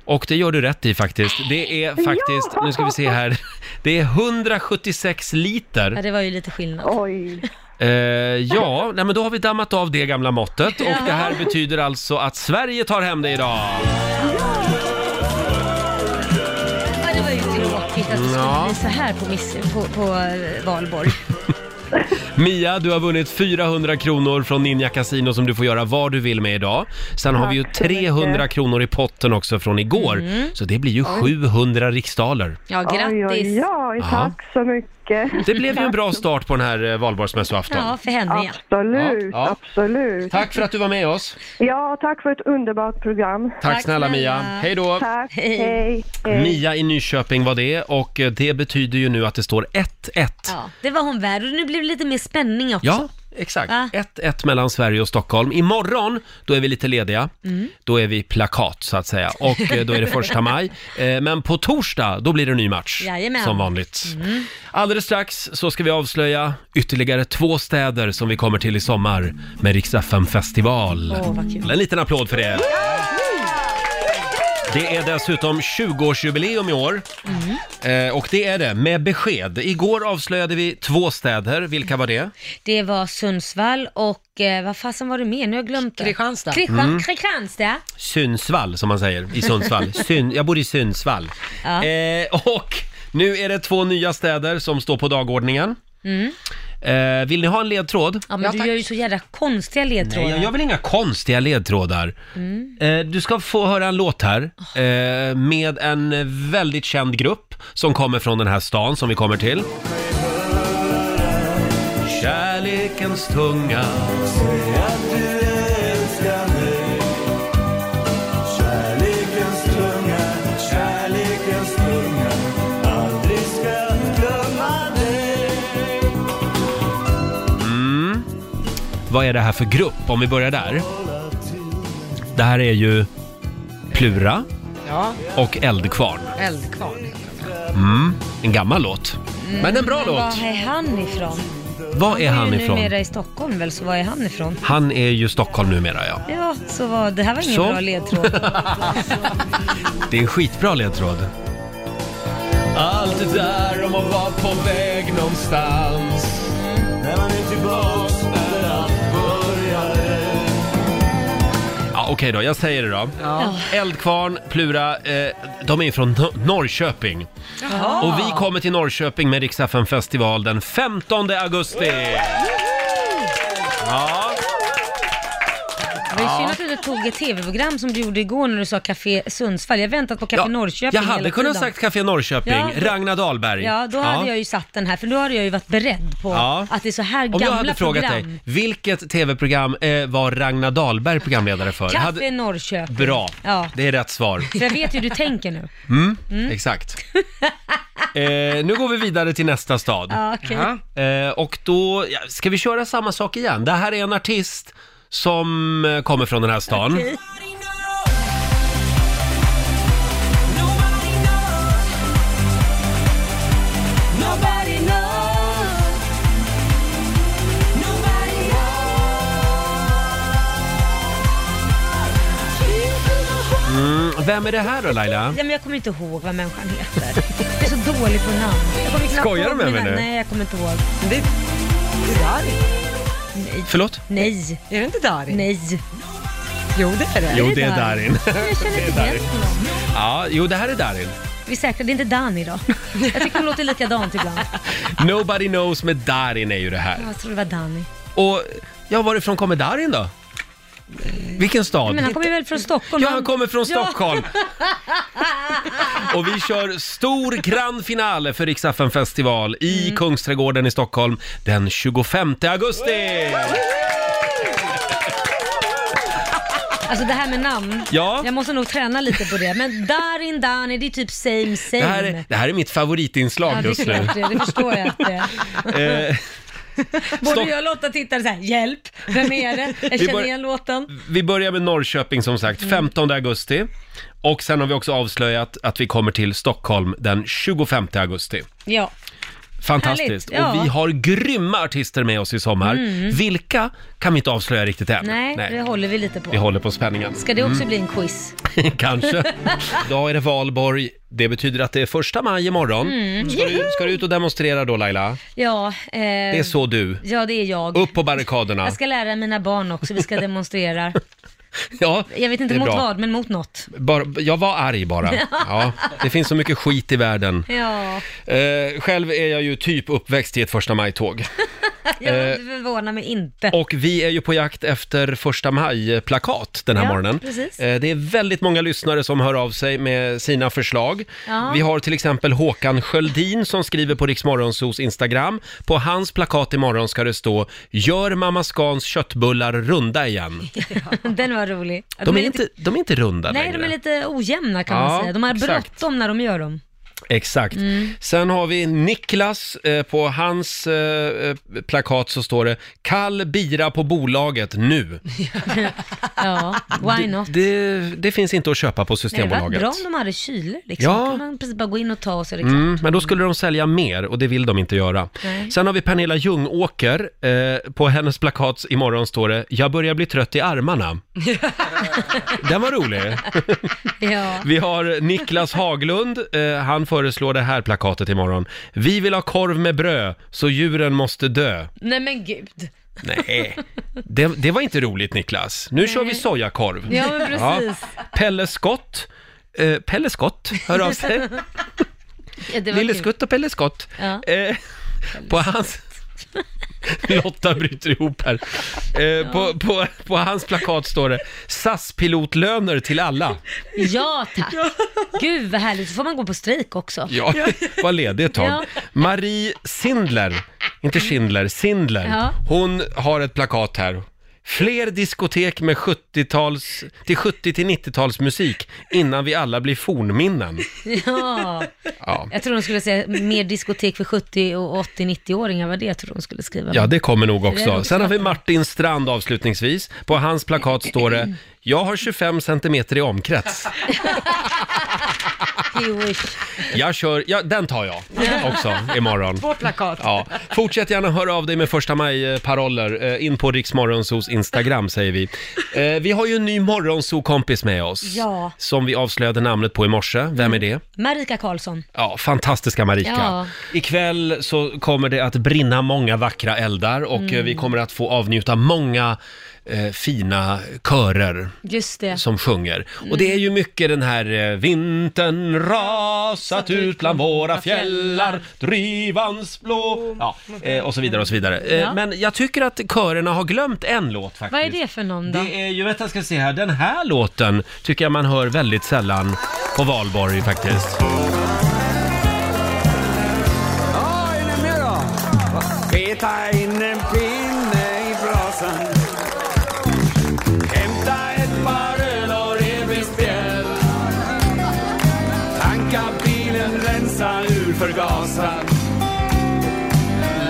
Speaker 1: och det gör du rätt i faktiskt. Det är faktiskt, nu ska vi se här, det är 176
Speaker 2: Ja,
Speaker 1: liter.
Speaker 2: det var ju lite skillnad.
Speaker 7: Oj.
Speaker 1: Eh, ja, nej, men då har vi dammat av det gamla måttet och det här betyder alltså att Sverige tar hem det idag.
Speaker 2: Ja, det var ju tråkigt att det skulle bli så här på, miss, på, på eh, valborg.
Speaker 1: Mia, du har vunnit 400 kronor från Ninja Casino som du får göra vad du vill med idag. Sen har vi ju 300 kronor i potten också från igår, så det blir ju 700 riksdaler.
Speaker 2: Ja,
Speaker 7: Oj, oj,
Speaker 2: grattis.
Speaker 7: oj.
Speaker 1: Ja.
Speaker 7: Tack så mycket.
Speaker 1: Det blev ju en bra start på den här eh, valborgsmässoafton.
Speaker 2: Ja, för henne ja.
Speaker 7: Absolut,
Speaker 1: Ja, ja.
Speaker 7: absolut.
Speaker 1: Tack för att du var med oss.
Speaker 7: Ja, tack för ett underbart program.
Speaker 1: Tack,
Speaker 2: Tack
Speaker 1: snälla Mia.
Speaker 2: snälla.
Speaker 1: Hej då.
Speaker 7: Tack,
Speaker 2: Hej.
Speaker 7: hej. hej.
Speaker 1: Mia i Nyköping var det och eh, det betyder ju nu att det står 1-1.
Speaker 2: ja. Det var hon värd och nu blev det lite mer spänning också.
Speaker 1: Ja, exakt.
Speaker 2: Va?
Speaker 1: 1-1 mellan Sverige och Stockholm. Imorgon, då är vi lite lediga.
Speaker 2: Mm.
Speaker 1: Då är vi plakat, så att säga. Och eh, då är det första maj. Eh, Men på torsdag, då blir det en ny match.
Speaker 2: Jajamän. Mm.
Speaker 1: Som vanligt. Alldeles strax så ska vi avslöja ytterligare två städer som vi kommer till i sommar med Rix FM festival
Speaker 2: Åh, vad kul.
Speaker 1: En liten applåd för det. Det är dessutom 20-årsjubileum i år.
Speaker 2: Mm.
Speaker 1: Eh, och det är det, med besked. Igår avslöjade vi två städer. Vilka var det?
Speaker 2: Det var Sundsvall och eh, vad fasen var det mer? Nu har jag glömt det.
Speaker 3: Kristianstad.
Speaker 2: Kristian,
Speaker 1: Mm.
Speaker 2: Kristianstad.
Speaker 1: Sundsvall som man säger i Sundsvall. Syn, jag bor i Sundsvall.
Speaker 2: Ja.
Speaker 1: Eh, och nu är det två nya städer som står på dagordningen. Eh, vill ni ha en ledtråd?
Speaker 2: Mm. Ja, men
Speaker 3: Ja,
Speaker 2: du
Speaker 3: tack.
Speaker 2: gör ju så jävla konstiga ledtrådar.
Speaker 1: Nej, jag, jag vill inga konstiga ledtrådar.
Speaker 2: Mm.
Speaker 1: Eh, du ska få höra en låt här
Speaker 2: Ah.
Speaker 1: eh, med en väldigt känd grupp som kommer från den här stan som vi kommer till. Kärlekens tunga Vad är det här för grupp om vi börjar där? Det här är ju Plura,
Speaker 3: Ja.
Speaker 1: och Eldkvarn.
Speaker 3: Eldkvarn.
Speaker 1: Mm. En gammal låt. Men en bra låt!
Speaker 2: Var är han ifrån?
Speaker 1: Var är han
Speaker 2: Han är ju
Speaker 1: ifrån?
Speaker 2: numera i Stockholm väl, så var är han ifrån?
Speaker 1: Han är ju Stockholm numera ja.
Speaker 2: Ja, så var, det här var ingen
Speaker 1: Så.
Speaker 2: bra ledtråd.
Speaker 1: Det är en skitbra ledtråd. Allt det där om att vara på väg någonstans
Speaker 10: När man är tillbaks där allt började
Speaker 1: Ja, okej då, jag säger det då. Eldkvarn, Plura, eh, de är från Nor- Norrköping.
Speaker 10: Jaha.
Speaker 1: Och vi kommer till Norrköping med Rix FM festival den 15 augusti. Ja,
Speaker 2: Det var ju synd att du inte tog ett tv-program som du gjorde igår när du sa Café Sundsvall. Jag har väntat på Café Norrköping
Speaker 1: jag hade
Speaker 2: hela
Speaker 1: kunnat
Speaker 2: tiden.
Speaker 1: sagt Café Norrköping,
Speaker 2: Ja.
Speaker 1: Ragnar Dahlberg.
Speaker 2: Ja, då hade jag ju satt den här, för då hade jag ju varit beredd på
Speaker 1: Ja.
Speaker 2: att det är så här
Speaker 1: Om jag
Speaker 2: gamla
Speaker 1: hade frågat
Speaker 2: program.
Speaker 1: dig, vilket tv-program eh, var Ragnar Dahlberg programledare för?
Speaker 2: Café
Speaker 1: Hade-
Speaker 2: Norrköping.
Speaker 1: Bra,
Speaker 2: Ja.
Speaker 1: det är rätt svar.
Speaker 2: För jag vet ju hur du tänker nu.
Speaker 1: Mm, Exakt. eh, nu går vi vidare till nästa stad.
Speaker 2: Ja, okej.
Speaker 1: Eh, och då, ja, ska vi köra samma sak igen? Det här är en artist som eh, kommer från den här stan.
Speaker 10: Okej. Nobody knows Nobody knows
Speaker 1: Mm, vem är det här då Laila?
Speaker 2: Ja, men jag kommer inte ihåg vad människan heter. Jag är så dålig på namn. Jag kommer knappt
Speaker 1: Skojar du
Speaker 2: ihåg
Speaker 1: med
Speaker 2: mina-
Speaker 1: mig nu?
Speaker 2: Nej, jag kommer inte ihåg.
Speaker 3: Det är Dari.
Speaker 1: Förlåt?
Speaker 2: Nej.
Speaker 3: Är det inte Darin?
Speaker 2: Nej.
Speaker 3: Jo, det är det.
Speaker 1: Jo, det är Darin.
Speaker 2: Jag känner
Speaker 1: Det är
Speaker 2: inte igen
Speaker 1: Darin.
Speaker 2: honom.
Speaker 1: Ja, jo, det här är Darin.
Speaker 2: Vi är säkra, det är inte Dan idag. Jag tycker hon låter likadant ibland.
Speaker 1: Nobody knows med Darin är ju det här.
Speaker 2: Jag tror det var Danny.
Speaker 1: Och ja, varifrån kommer Darin då? Vilken stad?
Speaker 2: Men han kommer väl från Stockholm?
Speaker 1: Ja, han kommer från Stockholm. Och vi kör stor grand finale för Rix FM festival i
Speaker 2: Mm.
Speaker 1: Kungsträdgården i Stockholm den 25 augusti.
Speaker 2: Alltså det här med namn.
Speaker 1: Ja.
Speaker 2: Jag måste nog träna lite på det. Men Darin, Dani, det är typ same, same.
Speaker 1: Det här, är, det här är mitt
Speaker 2: ja,
Speaker 1: favoritinslag
Speaker 2: det är
Speaker 1: just nu.
Speaker 2: klart Det, det förstår jag att det är.
Speaker 1: Eh,
Speaker 2: Både
Speaker 1: Stock-
Speaker 2: jag och Lotta tittade så här, hjälp, vem är det? Jag
Speaker 1: Vi
Speaker 2: känner
Speaker 1: bör-
Speaker 2: igen låten.
Speaker 1: vi börjar med Norrköping som sagt,
Speaker 2: Mm.
Speaker 1: 15 augusti. Och sen har vi också avslöjat att vi kommer till Stockholm den 25 augusti.
Speaker 2: Ja.
Speaker 1: Fantastiskt!
Speaker 2: Härligt, ja.
Speaker 1: Och vi har grymma artister med oss i sommar.
Speaker 2: Mm.
Speaker 1: Vilka kan vi inte avslöja riktigt än.
Speaker 2: Nej, det håller vi lite på.
Speaker 1: Vi håller på spänningen.
Speaker 2: Ska det också
Speaker 1: Mm.
Speaker 2: bli en quiz?
Speaker 1: Kanske. Idag är det valborg. Det betyder att det är första maj imorgon.
Speaker 2: Mm.
Speaker 1: Ska, du, ska du ut och demonstrera då Laila?
Speaker 2: Ja, eh,
Speaker 1: Det är så du.
Speaker 2: Ja, det är jag.
Speaker 1: Upp på barrikaderna.
Speaker 2: Jag ska lära mina barn också, vi ska demonstrera.
Speaker 1: Ja,
Speaker 2: Jag vet inte
Speaker 1: det är
Speaker 2: mot
Speaker 1: bra.
Speaker 2: vad, men mot något.
Speaker 1: Bara, jag var arg bara. Ja, det finns så mycket skit i världen.
Speaker 2: Ja,
Speaker 1: Eh, själv är jag ju typ uppväxt i ett första maj-tåg.
Speaker 2: jag
Speaker 1: Eh,
Speaker 2: förvånar mig inte.
Speaker 1: Och vi är ju på jakt efter första maj-plakat den här
Speaker 2: Ja,
Speaker 1: morgonen.
Speaker 2: precis.
Speaker 1: Eh, Det är väldigt många lyssnare som hör av sig med sina förslag.
Speaker 2: Ja.
Speaker 1: Vi har till exempel Håkan Sköldin som skriver på Riksmorgonsos Instagram. På hans plakat imorgon ska det stå “Gör mamma Scans köttbullar runda igen”.
Speaker 2: Den var rolig.
Speaker 1: De är inte, de är inte runda
Speaker 2: Nej,
Speaker 1: längre.
Speaker 2: de är lite ojämna kan man
Speaker 1: Ja,
Speaker 2: säga. De har
Speaker 1: exakt.
Speaker 2: bråttom när de gör dem.
Speaker 1: Exakt.
Speaker 2: Mm.
Speaker 1: Sen har vi Niklas. Eh, På hans eh, eh, plakat så står det “Kall bira på bolaget nu”.
Speaker 2: Ja, why not?
Speaker 1: Det, det finns inte att köpa på
Speaker 2: Nej, det hade varit
Speaker 1: Systembolaget.
Speaker 2: bra om de hade kyler liksom.
Speaker 1: Ja.
Speaker 2: Ja. kan man precis bara gå in och ta liksom. och så är det klart.
Speaker 1: Mm, men då skulle de sälja mer och det vill de inte göra.
Speaker 2: Nej.
Speaker 1: Sen har vi Pernilla Ljungåker. Eh, på hennes plakat imorgon står det “Jag börjar bli trött i armarna”. Den var rolig.
Speaker 2: Ja.
Speaker 1: Vi har Niklas Haglund. Eh, han föreslår det här plakatet imorgon. “Vi vill ha korv med bröd, så djuren måste dö”.
Speaker 2: Nej men gud.
Speaker 1: Nej, det, det var inte roligt Niklas. Nu kör vi sojakorv.
Speaker 2: Ja, men precis.
Speaker 1: Pelle Skott. Eh, Pelle Skott hör av sig.
Speaker 2: Ja, det var
Speaker 1: Lille
Speaker 2: kul.
Speaker 1: Skutt och Pelle Skott.
Speaker 2: Ja.
Speaker 1: Eh, på hans... Lotta bryter ihop här. Eh, på, på, på hans plakat står det SAS-pilotlöner till alla.
Speaker 2: ja tack. Gud vad härligt. Så får man gå på strejk också.
Speaker 1: Ja, var ledig ett tag.
Speaker 2: Ja.
Speaker 1: Marie Sindler, inte Schindler, Sindler.
Speaker 2: Ja.
Speaker 1: Hon har ett plakat här. Fler diskotek med 70-tals, till 70 till 90-tals musik innan vi alla blir fornminnen.
Speaker 2: Ja.
Speaker 1: Ja.
Speaker 2: Jag tror de skulle säga mer diskotek för 70 och 80-90-åringar var det jag tror de skulle skriva.
Speaker 1: Ja, det kommer nog
Speaker 2: Det är
Speaker 1: också.
Speaker 2: nog
Speaker 1: Sen har vi Martin Strand avslutningsvis. På hans plakat står det Jag har 25 centimeter i omkrets.
Speaker 2: You wish.
Speaker 1: Jag kör, ja, den tar jag också imorgon.
Speaker 3: Två plakat.
Speaker 1: Ja. Fortsätt gärna höra av dig med första maj-paroller. Eh, In på Riksmorgonsos Instagram säger vi. Eh, Vi har ju en ny morgonso-kompis med oss.
Speaker 2: Ja.
Speaker 1: Som vi avslöjade namnet på i morse. Vem är det?
Speaker 2: Marika Karlsson.
Speaker 1: Ja, fantastiska Marika.
Speaker 2: Ja.
Speaker 1: Ikväll så kommer det att brinna många vackra eldar och
Speaker 2: Mm.
Speaker 1: eh, vi kommer att få avnjuta många eh, fina körer
Speaker 2: Just det.
Speaker 1: som sjunger. Och det är ju mycket den här eh, vintern rasat ut bland våra fjällar, drivans blå... Ja, eh, och så vidare och så vidare. Eh,
Speaker 2: Mm. Ja.
Speaker 1: Men jag tycker att körerna har glömt en låt faktiskt.
Speaker 2: Vad är det för någon då?
Speaker 1: Det är ju, vänta jag ska se här, den här låten tycker jag man hör väldigt sällan på valborg faktiskt.
Speaker 10: Ja, är ni med då? Peta in en pinne i brasan. Hämta ett par öl och revbensspjäll. Tanka bilen, rensa ur förgasaren.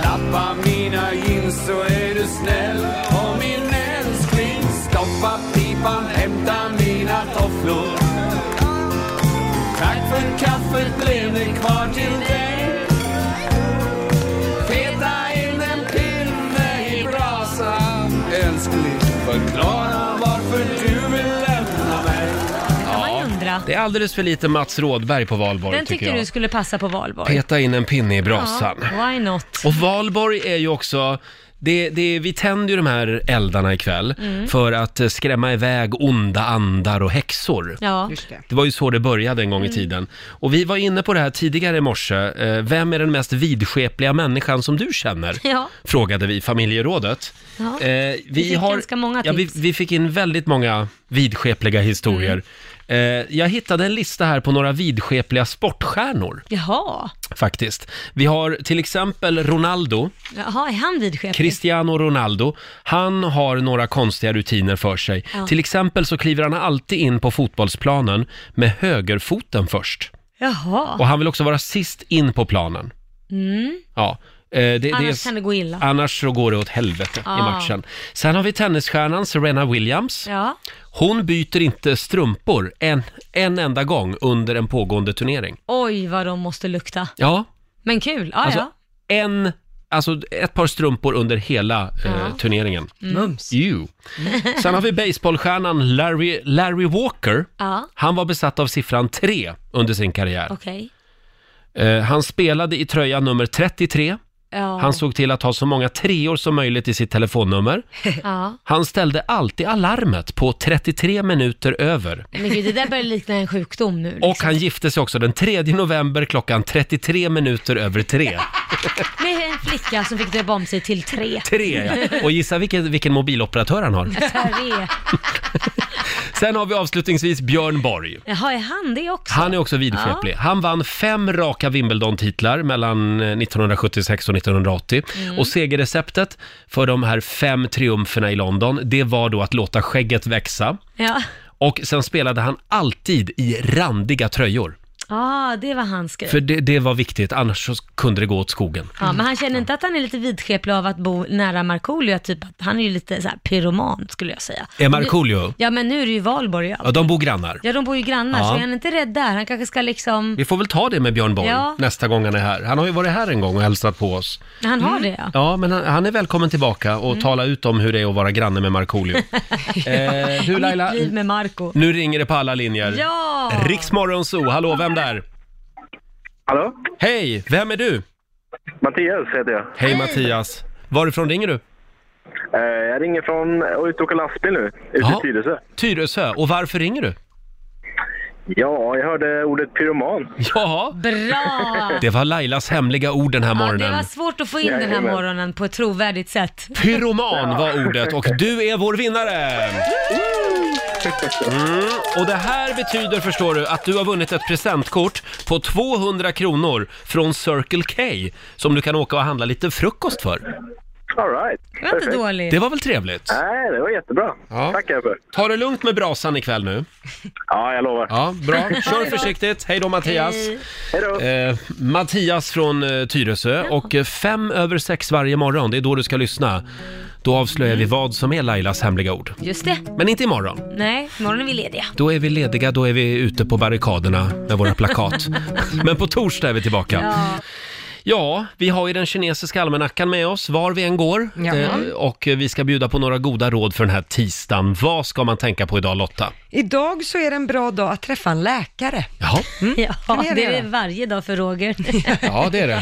Speaker 10: Lappa mina jeans så är du snäll. Och min älskling, stoppa pipan, hämta mina tofflor. Tack för kaffet, blev det kvar till dig. Peta in en pinne i brasan Älskling, förklara varför du vill lämna mig
Speaker 2: kan man ju undra.
Speaker 1: Det är alldeles för lite Mats Rådberg på valborg
Speaker 2: Den
Speaker 1: tycker
Speaker 2: tycker
Speaker 1: jag.
Speaker 2: du skulle passa på valborg.
Speaker 1: Peta in en pinne i brasan.
Speaker 2: Ja, why not?
Speaker 1: Och valborg är ju också det, det, vi tänder ju de här eldarna ikväll
Speaker 2: Mm.
Speaker 1: för att eh, skrämma iväg onda andar och häxor.
Speaker 2: Ja.
Speaker 1: Det var ju så det började en gång i
Speaker 2: Mm.
Speaker 1: tiden. Och vi var inne på det här tidigare i morse. Eh, Vem är den mest vidskepliga människan som du känner?
Speaker 2: Ja.
Speaker 1: Frågade vi familjerådet.
Speaker 2: Ja.
Speaker 1: Eh, vi
Speaker 2: fick ganska många
Speaker 1: ja, vi,
Speaker 2: tips.
Speaker 1: vi fick in väldigt många vidskepliga historier.
Speaker 2: Mm.
Speaker 1: Eh, jag hittade en lista här på några vidskepliga sportstjärnor
Speaker 2: Jaha.
Speaker 1: faktiskt. Vi har till exempel Ronaldo.
Speaker 2: Jaha, är han vidskeplig?
Speaker 1: Cristiano Ronaldo, han har några konstiga rutiner för sig.
Speaker 2: Ja.
Speaker 1: Till exempel så kliver han alltid in på fotbollsplanen med högerfoten först. Och
Speaker 2: Jaha.
Speaker 1: han vill också vara sist in på planen.
Speaker 2: Mm.
Speaker 1: Ja. eh, det- det,
Speaker 2: Annars
Speaker 1: är-
Speaker 2: kan det gå illa.
Speaker 1: Annars så går det åt helvete i
Speaker 2: Ah.
Speaker 1: matchen. Sen har vi tennisstjärnan Serena Williams.
Speaker 2: Ja.
Speaker 1: Hon byter inte strumpor en, en enda gång under en pågående turnering.
Speaker 2: Oj, vad de måste lukta.
Speaker 1: Ja,
Speaker 2: Men kul. Ja,
Speaker 1: Alltså,
Speaker 2: ja.
Speaker 1: en, alltså ett par strumpor under hela
Speaker 2: Ja.
Speaker 1: eh, turneringen.
Speaker 2: Mm. Mums.
Speaker 1: Ew. Sen har vi baseballstjärnan Larry, Larry Walker.
Speaker 2: Ja,
Speaker 1: Han var besatt av siffran 3 under sin karriär.
Speaker 2: okej.
Speaker 1: Eh, han spelade i tröja nummer 33.
Speaker 2: Ja.
Speaker 1: Han såg till att ha så många treor som möjligt i sitt telefonnummer.
Speaker 2: ja.
Speaker 1: Han ställde alltid alarmet på 33 minuter över.
Speaker 2: Men gud, det där börjar likna en sjukdom nu. liksom.
Speaker 1: Och han gifte sig också den 3 november klockan 33 minuter över 3.
Speaker 2: Med en flicka som fick döpa om sig till tre.
Speaker 1: 3 ja. Och gissa vilken, vilken mobiloperatör han har.
Speaker 2: Tre.
Speaker 1: Sen har vi avslutningsvis Björn Borg.
Speaker 2: Jaha, är han det också?
Speaker 1: Han är också vidskeplig. Han vann fem raka Wimbledon-titlar mellan eh, 1976 och 1980.
Speaker 2: Mm.
Speaker 1: Och segerreceptet för de här fem triumferna i London, det var då att låta skägget växa.
Speaker 2: Ja,
Speaker 1: Och sen spelade han alltid i randiga tröjor.
Speaker 2: ah, det var hans grej.
Speaker 1: För det, det var viktigt, annars så kunde det gå åt skogen.
Speaker 2: Ja, men han känner inte att han är lite vidskeplig av att bo nära Markoolio, typ att han är ju lite så här pyroman skulle jag säga.
Speaker 1: Är Markoolio?
Speaker 2: Nu- Ja, men nu är det ju valborg och
Speaker 1: Ja,
Speaker 2: allt.
Speaker 1: de bor grannar.
Speaker 2: Ja, de bor ju grannar,
Speaker 1: Ja.
Speaker 2: så är han inte rädd där? Han kanske ska liksom...
Speaker 1: Vi får väl ta det med Björn Borg
Speaker 2: Ja.
Speaker 1: nästa gång han är här. Han har ju varit här en gång och hälsat på oss.
Speaker 2: Han
Speaker 3: Mm.
Speaker 2: har det ja.
Speaker 1: Ja, men han, han är välkommen tillbaka och
Speaker 2: Mm.
Speaker 1: tala ut om hur det är att vara granne med Markoolio. eh, du Laila,
Speaker 2: Mitt liv med Marco.
Speaker 1: nu ringer det på alla linjer.
Speaker 2: Ja!
Speaker 1: Riksmorgon Zoo, hallå, vem där?
Speaker 11: Hallå?
Speaker 1: Hej, vem är du?
Speaker 11: Mattias heter jag.
Speaker 1: Hej Mattias. Varifrån ringer du?
Speaker 11: Eh, Jag ringer från och är ute och åker lastbil nu, ute
Speaker 1: Jaha.
Speaker 11: i Tyresö.
Speaker 1: Tyresö, och varför ringer du?
Speaker 11: Ja, jag hörde ordet pyroman.
Speaker 1: Ja.
Speaker 2: Bra!
Speaker 1: Det var Lailas hemliga ord den här
Speaker 2: Ja, det
Speaker 1: morgonen.
Speaker 2: var svårt att få in den här
Speaker 1: Jajamän.
Speaker 2: morgonen på ett trovärdigt sätt.
Speaker 1: Pyroman var ordet och du är vår vinnare! Mm. Och det här betyder, förstår du, att du har vunnit ett presentkort på 200 kronor från Circle K som du kan åka och handla lite frukost för.
Speaker 11: All right.
Speaker 2: Det var inte dåligt.
Speaker 1: Det var väl trevligt?
Speaker 11: Nej, det var jättebra.
Speaker 1: Ja.
Speaker 11: Tackar för.
Speaker 1: Ta det lugnt med brasan ikväll nu.
Speaker 11: Ja, jag lovar.
Speaker 1: Ja, bra.
Speaker 11: Ha
Speaker 1: Kör
Speaker 11: det bra.
Speaker 1: försiktigt. Hej då Mattias.
Speaker 11: Hej. Hej då.
Speaker 1: Eh, Mattias från eh, Tyresö och eh, fem över sex varje morgon, det är då du ska lyssna. Då avslöjar vi vad som är Lailas hemliga ord.
Speaker 2: Just det.
Speaker 1: Men inte imorgon.
Speaker 2: Nej, imorgon är vi lediga.
Speaker 1: Då är vi lediga, då är vi ute på barrikaderna med våra plakat. Men på torsdag är vi tillbaka.
Speaker 2: Ja.
Speaker 1: Ja, vi har ju den kinesiska almanackan med oss var vi än går. Eh,
Speaker 3: Ja.
Speaker 1: och vi ska bjuda på några goda råd för den här tisdagen. Vad ska man tänka på idag Lotta?
Speaker 3: Idag så är det en bra dag att träffa en läkare.
Speaker 1: Jaha.
Speaker 2: Ja,
Speaker 3: Mm. Kan jag
Speaker 2: det
Speaker 3: göra?
Speaker 2: är det varje dag för Roger.
Speaker 1: Ja, det är det.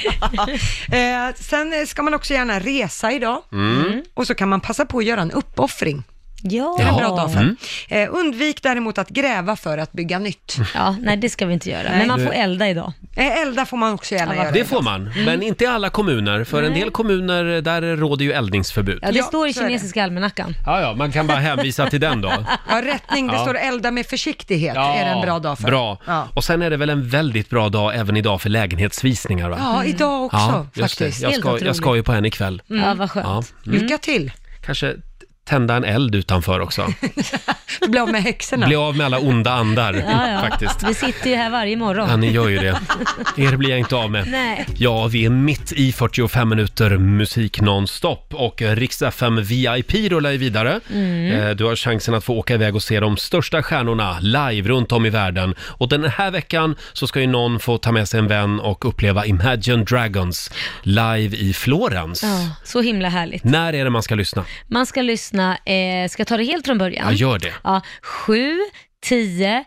Speaker 3: eh, sen ska man också gärna resa idag
Speaker 1: Mm.
Speaker 3: och så kan man passa på att göra en uppoffring.
Speaker 2: Ja.
Speaker 3: Det är en bra
Speaker 2: Ja.
Speaker 3: dag för.
Speaker 2: Mm.
Speaker 3: Eh, undvik däremot att gräva för att bygga nytt.
Speaker 1: Mm.
Speaker 2: Ja, nej det ska vi inte göra. Men man får elda idag.
Speaker 3: Eh, elda får man också gärna göra.
Speaker 1: Det får man,
Speaker 2: Mm.
Speaker 1: men inte i alla kommuner. För en
Speaker 2: Nej.
Speaker 1: del kommuner, där råder ju eldningsförbud.
Speaker 2: Ja, det står i kinesiska almanackan.
Speaker 1: Ja, ja, man kan bara hänvisa till den då.
Speaker 3: Ja, rättning, det
Speaker 1: Ja.
Speaker 3: står elda med försiktighet, är det en bra dag för.
Speaker 1: Bra.
Speaker 3: Ja.
Speaker 1: Och sen är det väl en väldigt bra dag även idag för lägenhetsvisningar va?
Speaker 3: Ja, idag också
Speaker 1: Mm. just det.
Speaker 3: faktiskt.
Speaker 1: Jag ska, jag ska ju på en ikväll.
Speaker 2: Mm. Ja, vad skönt.
Speaker 1: Ja. Mm.
Speaker 3: Lycka till.
Speaker 1: Kanske tända en eld utanför också.
Speaker 3: Bli av med häxorna.
Speaker 1: Bli av med alla onda andar
Speaker 2: Ja, ja.
Speaker 1: faktiskt.
Speaker 2: Vi sitter ju här varje morgon.
Speaker 1: Ja, ni gör ju det. Er blir jag inte av med.
Speaker 2: Nej.
Speaker 1: Ja, vi är mitt i 45 minuter musik nonstop och Rix FM VIP rullar ju vidare.
Speaker 10: Mm.
Speaker 1: Eh, Du har chansen att få åka iväg och se de största stjärnorna live runt om i världen. Och den här veckan så ska ju någon få ta med sig en vän och uppleva Imagine Dragons live i Florens.
Speaker 2: Ja, så himla härligt.
Speaker 1: När är det man ska lyssna?
Speaker 2: Man ska lyssna, eh, ska jag ta det helt från början?
Speaker 1: Ja, gör det.
Speaker 2: Ja, 7, 10,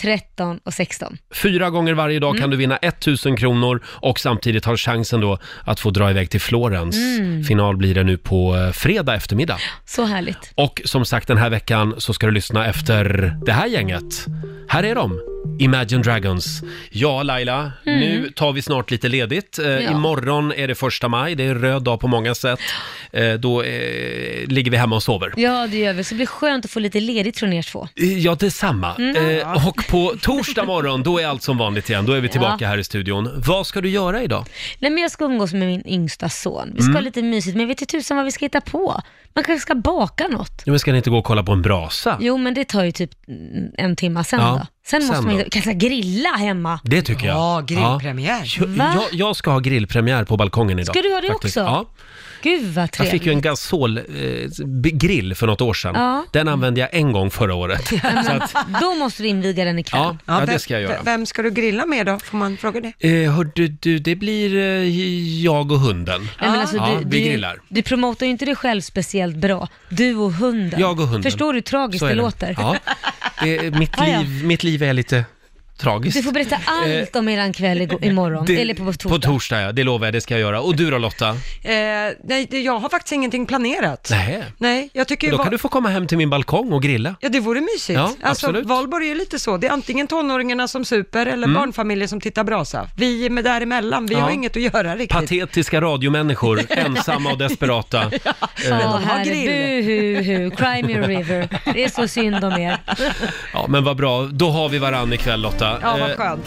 Speaker 2: 13 och 16.
Speaker 1: Fyra gånger varje dag kan
Speaker 2: Mm.
Speaker 1: du vinna 1000 kronor och samtidigt har chansen då att få dra iväg till Florens.
Speaker 2: Mm.
Speaker 1: Final blir det nu på eh, fredag eftermiddag.
Speaker 2: Så härligt.
Speaker 1: Och som sagt, den här veckan så ska du lyssna efter det här gänget. Här är de, Imagine Dragons. Ja, Laila,
Speaker 10: Mm.
Speaker 1: nu tar vi snart lite ledigt. Eh,
Speaker 10: Ja.
Speaker 1: Imorgon är det första maj, det är en röd dag på många sätt. Eh, då eh, ligger vi hemma och sover.
Speaker 2: Ja, det gör vi. Så det blir skönt att få lite ledigt från er två.
Speaker 1: Eh, Ja, detsamma.
Speaker 2: Mm.
Speaker 1: Eh, och på torsdag morgon, då är allt som vanligt igen. Då är vi tillbaka
Speaker 2: Ja.
Speaker 1: här i studion. Vad ska du göra idag?
Speaker 2: Nej, men jag ska umgås med min yngsta son. Vi ska
Speaker 1: Mm.
Speaker 2: ha lite mysigt, men jag vet inte tusan vad vi ska hitta på. Man kanske ska baka något.
Speaker 1: Ja, men ska ni inte gå och kolla på en brasa?
Speaker 2: Jo, men det tar ju typ mm, en timma sen
Speaker 1: Ja,
Speaker 2: då. Sen,
Speaker 1: sen
Speaker 2: måste man
Speaker 1: då.
Speaker 2: ju kanske grilla hemma.
Speaker 1: Det tycker jag.
Speaker 3: Ja, grillpremiär.
Speaker 1: Ja.
Speaker 2: Va?
Speaker 1: Jag, jag, jag ska ha grillpremiär på balkongen idag.
Speaker 2: Ska du ha det
Speaker 1: faktiskt.
Speaker 2: också?
Speaker 1: Ja.
Speaker 2: Gud vad
Speaker 1: Jag
Speaker 2: trevligt.
Speaker 1: fick ju en gasolgrill för något år sedan.
Speaker 2: Ja.
Speaker 1: Den använde jag en gång förra året.
Speaker 2: Men
Speaker 1: Så att,
Speaker 2: Då måste du inviga den ikväll.
Speaker 1: ja, ja, det ska jag göra.
Speaker 3: Vem ska du grilla med då? Får man fråga det?
Speaker 1: Eh, hörde du, det blir eh, jag och hunden.
Speaker 2: Nej, men alltså,
Speaker 1: ja,
Speaker 2: du,
Speaker 1: vi
Speaker 2: du,
Speaker 1: grillar.
Speaker 2: Du promotar ju inte dig själv speciellt bra. Du och hunden.
Speaker 1: Jag och hunden.
Speaker 2: Förstår du hur tragiskt
Speaker 1: Så är
Speaker 2: det, låter?
Speaker 1: Ja. Det, är- mitt,
Speaker 2: Ja, ja.
Speaker 1: liv, mitt liv är lite tragiskt.
Speaker 2: Du får berätta allt om eran kväll igår- imorgon,
Speaker 1: Eh, det-
Speaker 2: eller på torsdag.
Speaker 1: På torsdag, ja. Det lovar jag, det ska jag göra. Och du då Lotta?
Speaker 3: Eh, nej, det- jag har faktiskt ingenting planerat.
Speaker 1: Nej.
Speaker 3: Nej, jag tycker ju...
Speaker 1: Då
Speaker 3: va-
Speaker 1: kan du få komma hem till min balkong och grilla.
Speaker 3: Ja, det vore mysigt.
Speaker 1: Ja,
Speaker 3: alltså,
Speaker 1: absolut.
Speaker 3: Valborg är ju lite så. Det är antingen tonåringarna som super eller
Speaker 1: Mm.
Speaker 3: barnfamiljer som tittar brasa. Vi är med däremellan. Vi
Speaker 1: Ja.
Speaker 3: har inget att göra riktigt.
Speaker 1: Patetiska radiomänniskor, ensamma och desperata. Eh,
Speaker 2: Ja,
Speaker 3: ha
Speaker 2: herre,
Speaker 3: grill.
Speaker 2: bu, hu, hu, cry me a river. Det är så synd om er.
Speaker 1: Ja, men vad bra. Då har vi varann ikväll Lotta.
Speaker 2: Ja, vad
Speaker 1: Eh,
Speaker 2: skönt.